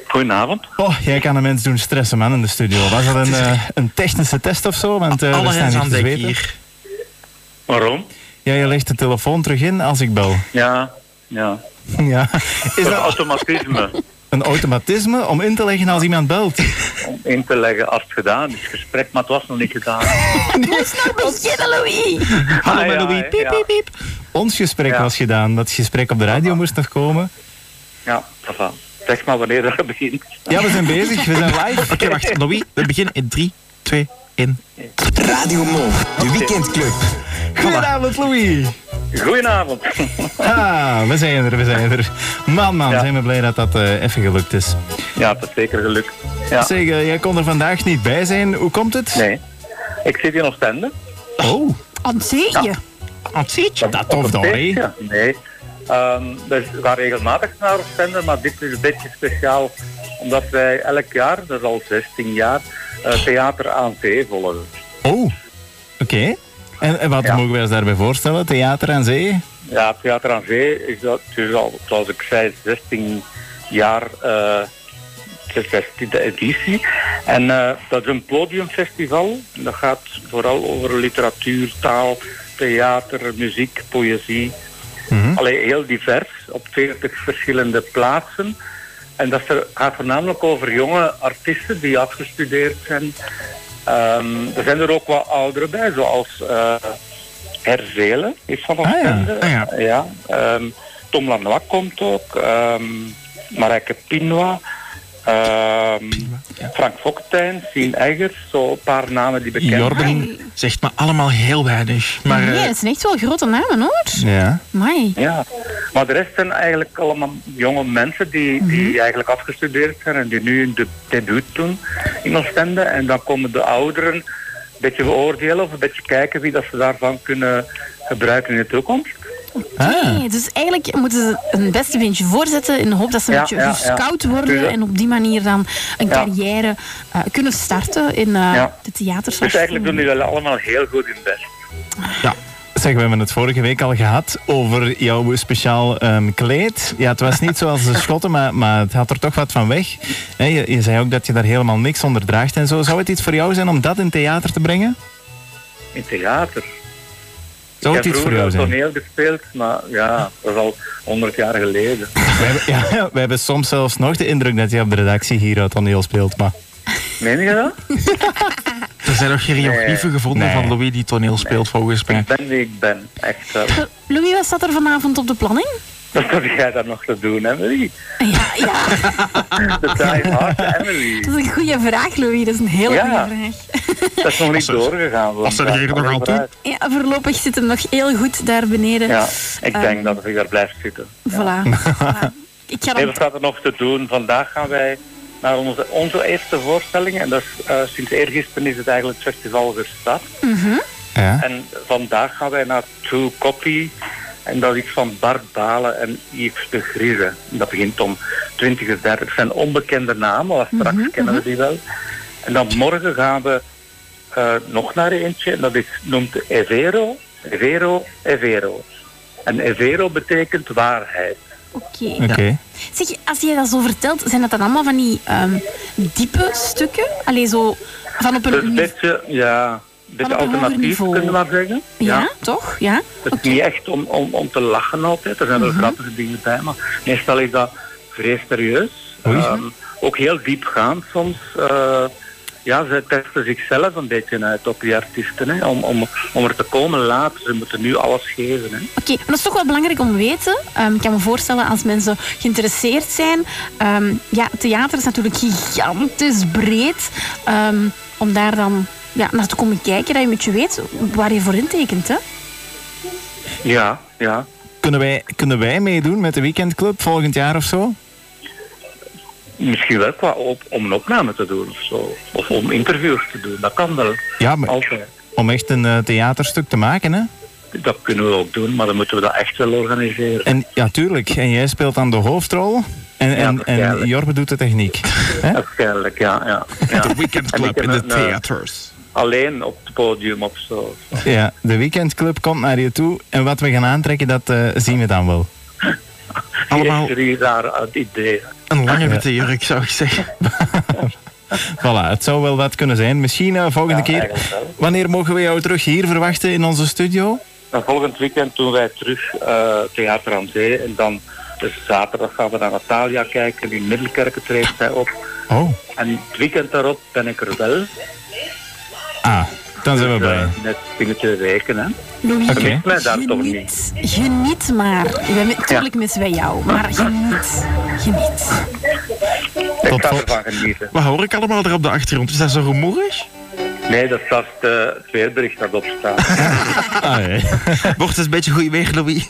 Speaker 8: Goedenavond.
Speaker 2: Oh, jij kan de mensen doen stressen, man, in de studio. Was dat een, eh, een technische test of zo? Want, eh, we
Speaker 4: Alle
Speaker 2: staan
Speaker 4: hens
Speaker 2: hier
Speaker 4: aan
Speaker 2: te
Speaker 4: dek
Speaker 2: zweten.
Speaker 4: hier.
Speaker 8: Waarom?
Speaker 2: Ja, je legt de telefoon terug in als ik bel.
Speaker 8: Ja, ja.
Speaker 2: Ja. Is
Speaker 8: Door
Speaker 2: dat
Speaker 8: automatisme
Speaker 2: een automatisme om in te leggen als iemand belt?
Speaker 8: om in te leggen als het gedaan is. Gesprek, maar het was nog niet gedaan.
Speaker 3: Moest nog beginnen, Louis.
Speaker 2: Hallo,
Speaker 8: Ah,
Speaker 2: met
Speaker 8: ja,
Speaker 2: Louis.
Speaker 8: hè,
Speaker 2: Piep,
Speaker 8: ja.
Speaker 2: piep, piep. Ons gesprek was gedaan. Dat gesprek op de radio moest nog komen.
Speaker 8: Ja, voilà. Zeg maar wanneer dat begint.
Speaker 2: Ja, we zijn bezig. We zijn live.
Speaker 4: Oké, wacht. Louis, we beginnen in 3, 2, 1.
Speaker 1: Radio Mol, de weekendclub.
Speaker 2: Goedenavond, Louis.
Speaker 8: Goedenavond.
Speaker 2: Ah, we zijn er, we zijn er. Man, man,
Speaker 8: Ja.
Speaker 2: zijn we blij dat dat eh, even gelukt is.
Speaker 8: Ja, dat is zeker gelukt. Ja.
Speaker 2: Zeg, eh, jij kon er vandaag niet bij zijn. Hoe komt het?
Speaker 8: Nee. Ik zit in Oostende.
Speaker 2: Oh,
Speaker 3: Aan zie je.
Speaker 4: Wat ziet je?
Speaker 2: dat tof dan, hè?
Speaker 8: Ja, nee. Ehm, dus we gaan regelmatig naar Oostende, maar dit is een beetje speciaal omdat wij elk jaar, dat is al 16 jaar, eh, theater aan zee volgen.
Speaker 2: Oh, oké. En, en wat
Speaker 8: Ja.
Speaker 2: mogen wij ons daarbij voorstellen? Theater aan zee?
Speaker 8: Ja, Theater aan Zee is dat dus al, zoals ik zei, 16 jaar eh, de 16e editie. En eh, dat is een podiumfestival. Dat gaat vooral over literatuur, taal, theater, muziek, poëzie. Allee, heel divers, op 40 verschillende plaatsen. En dat ver- gaat voornamelijk over jonge artiesten die afgestudeerd zijn. Ehm, er zijn er ook wat ouderen bij, zoals eh Herzelen is van ons
Speaker 2: Ah, ja.
Speaker 8: bekende.
Speaker 4: Ah, ja.
Speaker 8: Ja, ehm, Tom Lanois komt ook, ehm Marijke Pinoa, ehm, Frank Fokkentijn, Sien Eggers, zo een paar namen die bekend zijn.
Speaker 4: Jorben zegt me allemaal heel weinig. Maar eh,
Speaker 3: nee, dat zijn echt wel grote namen hoor.
Speaker 2: Ja.
Speaker 3: Mai.
Speaker 8: Ja, maar de rest zijn eigenlijk allemaal jonge mensen die, die eigenlijk afgestudeerd zijn en die nu hun de, debuut doen in Oostende. En dan komen de ouderen een beetje beoordelen of een beetje kijken wie dat ze daarvan kunnen gebruiken in de toekomst.
Speaker 2: Ah,
Speaker 3: Nee, dus eigenlijk moeten ze een beste beentje voorzetten in de hoop dat ze een
Speaker 8: Ja,
Speaker 3: beetje
Speaker 8: ja, ja.
Speaker 3: gescout worden
Speaker 8: Tuurlijk.
Speaker 3: en op die manier dan een
Speaker 8: Ja.
Speaker 3: carrière eh, kunnen starten in eh,
Speaker 8: Ja.
Speaker 3: de theaters.
Speaker 8: Dus eigenlijk doen die wel allemaal heel goed hun best.
Speaker 2: zeg, we hebben het vorige week al gehad over jouw speciaal ehm, kleed. Ja, het was niet zoals de schotten, maar, maar het had er toch wat van weg. Hè, je, je zei ook dat je daar helemaal niks onder draagt en zo. Zou het iets voor jou zijn om dat in theater te brengen?
Speaker 8: In theater.
Speaker 2: Zou het
Speaker 8: ik heb
Speaker 2: iets voor
Speaker 8: vroeger
Speaker 2: jou zijn?
Speaker 8: toneel gespeeld, maar ja, dat is al honderd jaar geleden.
Speaker 2: We hebben, ja, we hebben soms zelfs nog de indruk dat jij op de redactie hier uit toneel speelt. Maar
Speaker 8: Meen je dat?
Speaker 4: er zijn nog choreografieën gevonden
Speaker 2: Nee.
Speaker 4: van Louis die toneel speelt volgens mij.
Speaker 8: Ik ben wie ik ben, echt. wel.
Speaker 3: Eh, Louis, wat staat er vanavond op de planning?
Speaker 8: Wat heb jij daar nog te doen, Emily?
Speaker 3: Ja, ja,
Speaker 8: De die hard Emily.
Speaker 3: dat is een goede vraag, Louis. Dat is een hele
Speaker 8: Ja.
Speaker 3: goede vraag.
Speaker 8: Dat is nog niet
Speaker 4: ze-
Speaker 8: doorgegaan. want
Speaker 4: als ze er
Speaker 8: dat
Speaker 4: hier
Speaker 8: gaat
Speaker 4: nog aan toe-
Speaker 8: vooruit.
Speaker 3: Ja, voorlopig zit hem nog heel goed daar beneden.
Speaker 8: Ja, ik
Speaker 3: Eh,
Speaker 8: denk dat ik daar blijf zitten.
Speaker 3: Voilà. Voilà. Ik ga
Speaker 8: Nee,
Speaker 3: dan
Speaker 8: wat staat er nog te doen? Vandaag gaan wij naar onze, onze eerste voorstelling. En dat is, eh, sinds eergisteren is het eigenlijk het festival gestart.
Speaker 2: ja.
Speaker 8: En vandaag gaan wij naar Two Copy. En dat is van Bart Balen en Yves de Griezen. Dat begint om 20 uur 30. Het zijn onbekende namen, maar straks kennen we die wel. En dan morgen gaan we eh, nog naar eentje. En dat is, noemt Evero. Evero, Evero. En Evero betekent waarheid.
Speaker 3: Oké.
Speaker 2: Oké.
Speaker 3: Zeg, als jij dat zo vertelt, zijn dat dan allemaal van die ehm, diepe stukken? Allee, zo van op een...
Speaker 8: Dus een beetje, ja, een beetje
Speaker 3: Van op een hoger
Speaker 8: alternatief,
Speaker 3: niveau.
Speaker 8: kunnen we maar zeggen.
Speaker 3: ja, toch? Ja?
Speaker 8: Het is niet echt om, om, om te lachen altijd. Er zijn wel grappige dingen bij, maar meestal is dat vrij serieus. Ehm, ook heel diepgaand soms. Eh, ja, ze testen zichzelf een beetje uit op die artiesten. Hè, om, om, om er te komen later. Ze moeten nu alles geven. Hè.
Speaker 3: Oké, maar dat is toch wel belangrijk om te weten. Ehm, ik kan me voorstellen als mensen geïnteresseerd zijn. Ehm, ja, theater is natuurlijk gigantisch breed. Ehm, om daar dan ja, naar te komen kijken, dat je een beetje weet waar je voor intekent. Hè?
Speaker 8: Ja, ja.
Speaker 2: Kunnen wij, kunnen wij meedoen met de weekendclub volgend jaar of zo?
Speaker 8: Misschien wel qua op, om een opname te doen of zo. Of om interviews te doen. Dat kan wel.
Speaker 2: Ja, maar
Speaker 8: Altijd.
Speaker 2: om echt een eh, theaterstuk te maken, hè?
Speaker 8: Dat kunnen we ook doen, maar dan moeten we dat echt wel organiseren.
Speaker 2: En ja, tuurlijk. En jij speelt dan de hoofdrol. En, en, en Jorbe doet de techniek. Hè?
Speaker 8: Waarschijnlijk, ja. ja, ja.
Speaker 2: De Weekend
Speaker 8: En ik
Speaker 2: Club
Speaker 8: heb
Speaker 2: in de
Speaker 8: een, eh,
Speaker 2: theaters.
Speaker 8: Alleen op het podium of zo.
Speaker 2: Ja, de weekendclub komt naar je toe. En wat we gaan aantrekken, dat eh, zien we dan wel.
Speaker 8: Allemaal... Drie rare eh, ideeën.
Speaker 4: Een
Speaker 2: Ja.
Speaker 4: langere jurk, zou ik zeggen.
Speaker 2: Voilà, het zou wel wat kunnen zijn. Misschien eh, volgende keer.
Speaker 8: eigenlijk wel.
Speaker 2: Wanneer mogen we jou terug hier verwachten in onze studio?
Speaker 8: En volgend weekend doen wij terug eh, Theater aan Zee. En dan dus zaterdag gaan we naar Natalia kijken. In Middelkerken treedt zij op.
Speaker 2: Oh.
Speaker 8: En het weekend daarop ben ik er wel. eh,
Speaker 2: Ah, dan zijn we blij.
Speaker 8: Net binnen twee weken, hè.
Speaker 3: Louis,
Speaker 8: Vergeet mij daar toch niet.
Speaker 3: Geniet maar. We, natuurlijk missen wij jou, maar geniet. Geniet.
Speaker 8: Ik ga ervan genieten.
Speaker 4: Wat hoor ik allemaal er op de achtergrond? Is dat zo rumoerig?
Speaker 8: Nee, dat is vast eh, het weerbericht dat opstaat.
Speaker 2: Ah,
Speaker 4: Wordt het een beetje goed weer, Louis?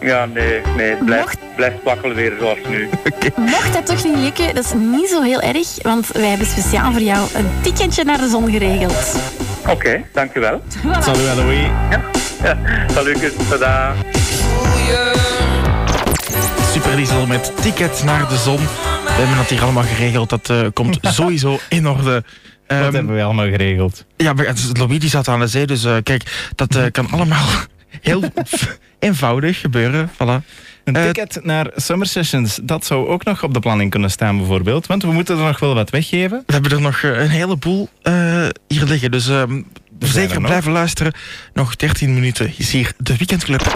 Speaker 8: ja, nee, nee. het Blijft, blijft wakker weer zoals nu.
Speaker 3: Mocht dat toch niet lukken, dat is niet zo heel erg, want wij hebben speciaal voor jou een ticketje naar de zon geregeld.
Speaker 8: Oké, dankjewel.
Speaker 2: Salut, Louis.
Speaker 8: Salut, kus, tada.
Speaker 4: Superdiesel met tickets naar de zon. We hebben dat hier allemaal geregeld. Dat eh, komt sowieso in orde. Ehm,
Speaker 2: Dat hebben we allemaal geregeld.
Speaker 4: ja, maar het is- Louis die zat aan de zee, dus eh, kijk, dat eh, kan allemaal heel eenvoudig gebeuren. Voilà.
Speaker 2: Een ticket naar Summer Sessions, dat zou ook nog op de planning kunnen staan bijvoorbeeld. Want we moeten er nog wel wat weggeven.
Speaker 4: We hebben er nog eh, een heleboel eh, hier liggen. Dus ehm, zeker
Speaker 2: er nog.
Speaker 4: blijven luisteren. Nog 13 minuten is hier de Weekendclub.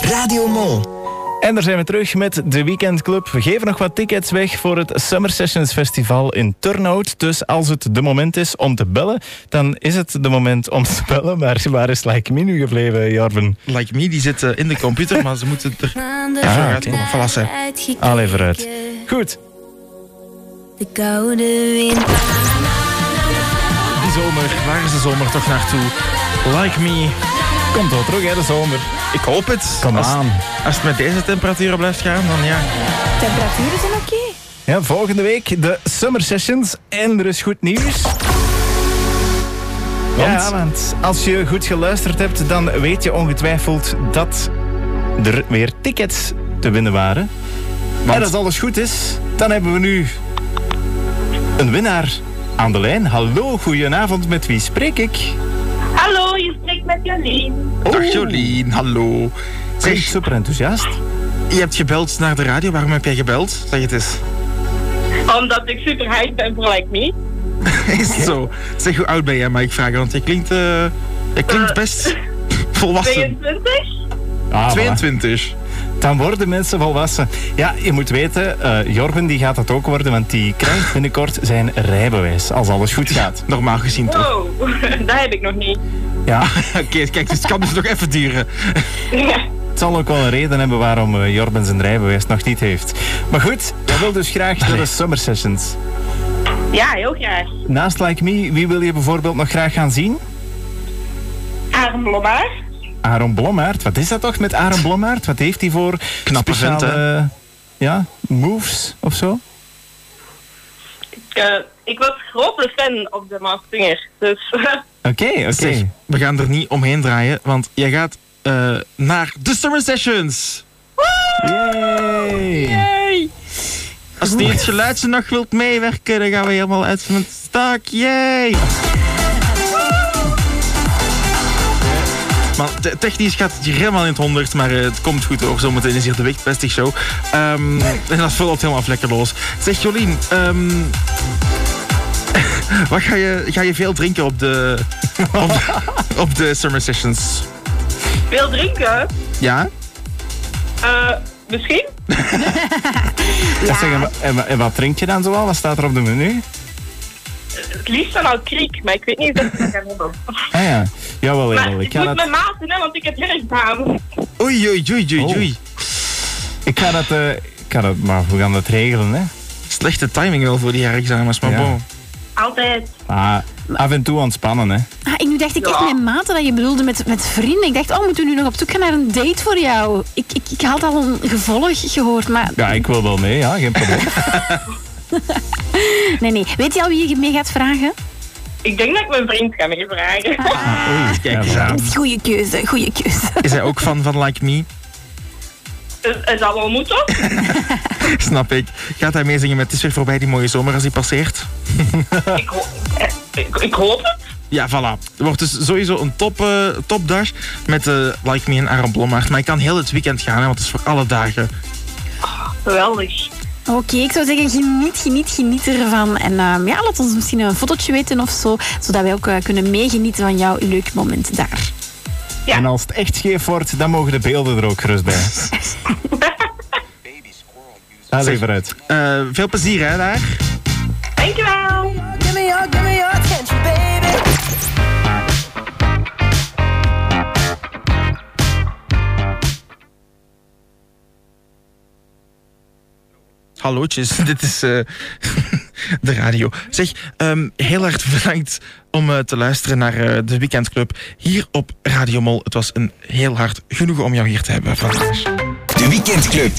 Speaker 2: Radio Mol. En daar zijn we terug met de Weekendclub. We geven nog wat tickets weg voor het Summer Sessions Festival in Turnhout. Dus als het de moment is om te bellen, dan is het de moment om te bellen. Maar waar is Like Me nu gebleven, Jorben?
Speaker 4: Like Me, die zit eh, in de computer, maar ze moeten er even uitkomen. Voilà, ze.
Speaker 2: Allee, vooruit. Goed.
Speaker 1: De koude wind.
Speaker 4: Die zomer, waar is de zomer toch naartoe? Like Me.
Speaker 2: Komt wel terug, hè, de zomer.
Speaker 4: Ik hoop het.
Speaker 2: Kom
Speaker 4: Als-
Speaker 2: aan.
Speaker 4: Als het met deze temperaturen blijft gaan, dan ja.
Speaker 3: Temperaturen zijn oké.
Speaker 2: Ja, volgende week de Summer Sessions. En er is goed nieuws. Ja, want als je goed geluisterd hebt, dan weet je ongetwijfeld dat er weer tickets te winnen waren. En als alles goed is, dan hebben we nu een winnaar aan de lijn. Hallo, goedenavond, met wie spreek ik?
Speaker 10: Hallo, je spreekt met Janine.
Speaker 4: Dag Jolien, hallo.
Speaker 2: Ben ik
Speaker 4: Zeg,
Speaker 2: super enthousiast?
Speaker 4: je hebt gebeld naar de radio. Waarom heb jij gebeld? Zeg het eens.
Speaker 10: Omdat ik super hype ben voor Like Me.
Speaker 4: Is het zo? Zeg, hoe oud ben jij? Maar ik vraag, want je klinkt, eh, je klinkt best volwassen.
Speaker 10: 22?
Speaker 2: Ah, voilà.
Speaker 4: 22.
Speaker 2: Dan worden mensen volwassen. Ja, je moet weten, eh, Jorgen die gaat dat ook worden, want die krijgt binnenkort zijn rijbewijs, als alles goed gaat.
Speaker 4: Normaal gezien toch?
Speaker 10: Wow, Oh, dat heb ik nog niet.
Speaker 2: Ja,
Speaker 4: Oké, kijk, dus het kan dus nog even duren.
Speaker 10: Ja.
Speaker 2: het zal ook wel een reden hebben waarom eh, Jorben zijn rijbewijs nog niet heeft. Maar goed, jij wil dus graag naar de Summer Sessions.
Speaker 10: ja, heel graag.
Speaker 2: Naast Like Me, wie wil je bijvoorbeeld nog graag gaan zien?
Speaker 10: Aaron Blommaar.
Speaker 2: Aaron Blommaert. Wat is dat toch met Aaron Blommaert? Wat heeft hij voor
Speaker 4: Knappe vent,
Speaker 2: speciale ja, moves of zo?
Speaker 10: Ik, eh, ik was grote fan op de Maskzinger. Dus
Speaker 2: Oké, oké.
Speaker 4: Zeg, we gaan er niet omheen draaien, want jij gaat eh, naar de Summer Sessions.
Speaker 2: Yay!
Speaker 10: hey.
Speaker 4: Als je het geluidje nog wilt meewerken, dan gaan we helemaal uit van het stak. Yay! Maar te- technisch gaat het hier helemaal in het honderd, maar eh, het komt goed hoor. Zometeen is hier de Weekbestig Show. Ehm, en dat vult helemaal lekker los. Zeg Jolien, ehm, wat ga, je, ga je veel drinken op de, op de, op de Summer Sessions?
Speaker 10: Veel drinken?
Speaker 4: Ja?
Speaker 10: Eh, misschien?
Speaker 2: Ja, zeg, en, wa- en wa- en wat drink je dan zoal? Wat staat er op de menu?
Speaker 10: Het liefst dan al kriek, maar ik weet niet of ik dat kan hebben.
Speaker 2: Ah ja, jawel, jawel. Ik
Speaker 10: Ik
Speaker 2: ga
Speaker 10: moet
Speaker 2: dat,
Speaker 10: mijn maat doen, hè, want ik heb werkbaan.
Speaker 4: Oei, oei, oei, oei, oei.
Speaker 2: ik ga dat, eh, ik ga dat, maar we gaan dat regelen, hè.
Speaker 4: Slechte timing wel voor die herexamens, maar bon.
Speaker 10: Altijd.
Speaker 2: Ah, af en toe ontspannen, hè.
Speaker 3: Ah, en nu dacht ik echt mijn maten dat je bedoelde met, met vrienden. Ik dacht, oh, moeten we nu nog op zoek gaan naar een date voor jou? Ik, ik, ik had al een gevolg gehoord, maar
Speaker 2: Ja, ik wil wel mee, ja, geen probleem.
Speaker 3: nee, nee. Weet je al wie je mee gaat vragen?
Speaker 10: Ik denk dat ik mijn vriend ga meevragen.
Speaker 4: Oei, kijk eens aan.
Speaker 3: Goeie keuze, goeie keuze.
Speaker 4: Is hij ook fan van Like Me?
Speaker 10: Is, is dat Eh, wel moeten?
Speaker 4: Snap ik. Gaat hij meezingen met Het is weer voorbij die mooie zomer als hij passeert?
Speaker 10: Ik, ik hoop het.
Speaker 4: Ja, voilà. Er wordt dus sowieso een top, eh, topdag met eh, Like Me en Aaron Blommaert. Maar ik kan heel het weekend gaan, hè, want het is voor alle dagen.
Speaker 10: Geweldig.
Speaker 3: Oké, ik zou zeggen, geniet, geniet, geniet ervan. En ehm, ja, laat ons misschien een fotootje weten of zo, zodat wij ook eh, kunnen meegenieten van jouw leuk moment daar.
Speaker 2: En als het echt scheef wordt, dan mogen de beelden er ook gerust bij. Daar
Speaker 4: Zeg,
Speaker 2: liever uit.
Speaker 4: eh, veel plezier, hè, daar.
Speaker 10: Dankjewel.
Speaker 13: Give me your, give me your attention, baby.
Speaker 4: Hallootjes, dit is eh, de radio. Zeg, ehm, heel erg bedankt om eh, te luisteren naar eh, de Weekendclub hier op Radio Mol. Het was een heel hard genoegen om jou hier te hebben vandaag.
Speaker 1: De Weekendclub.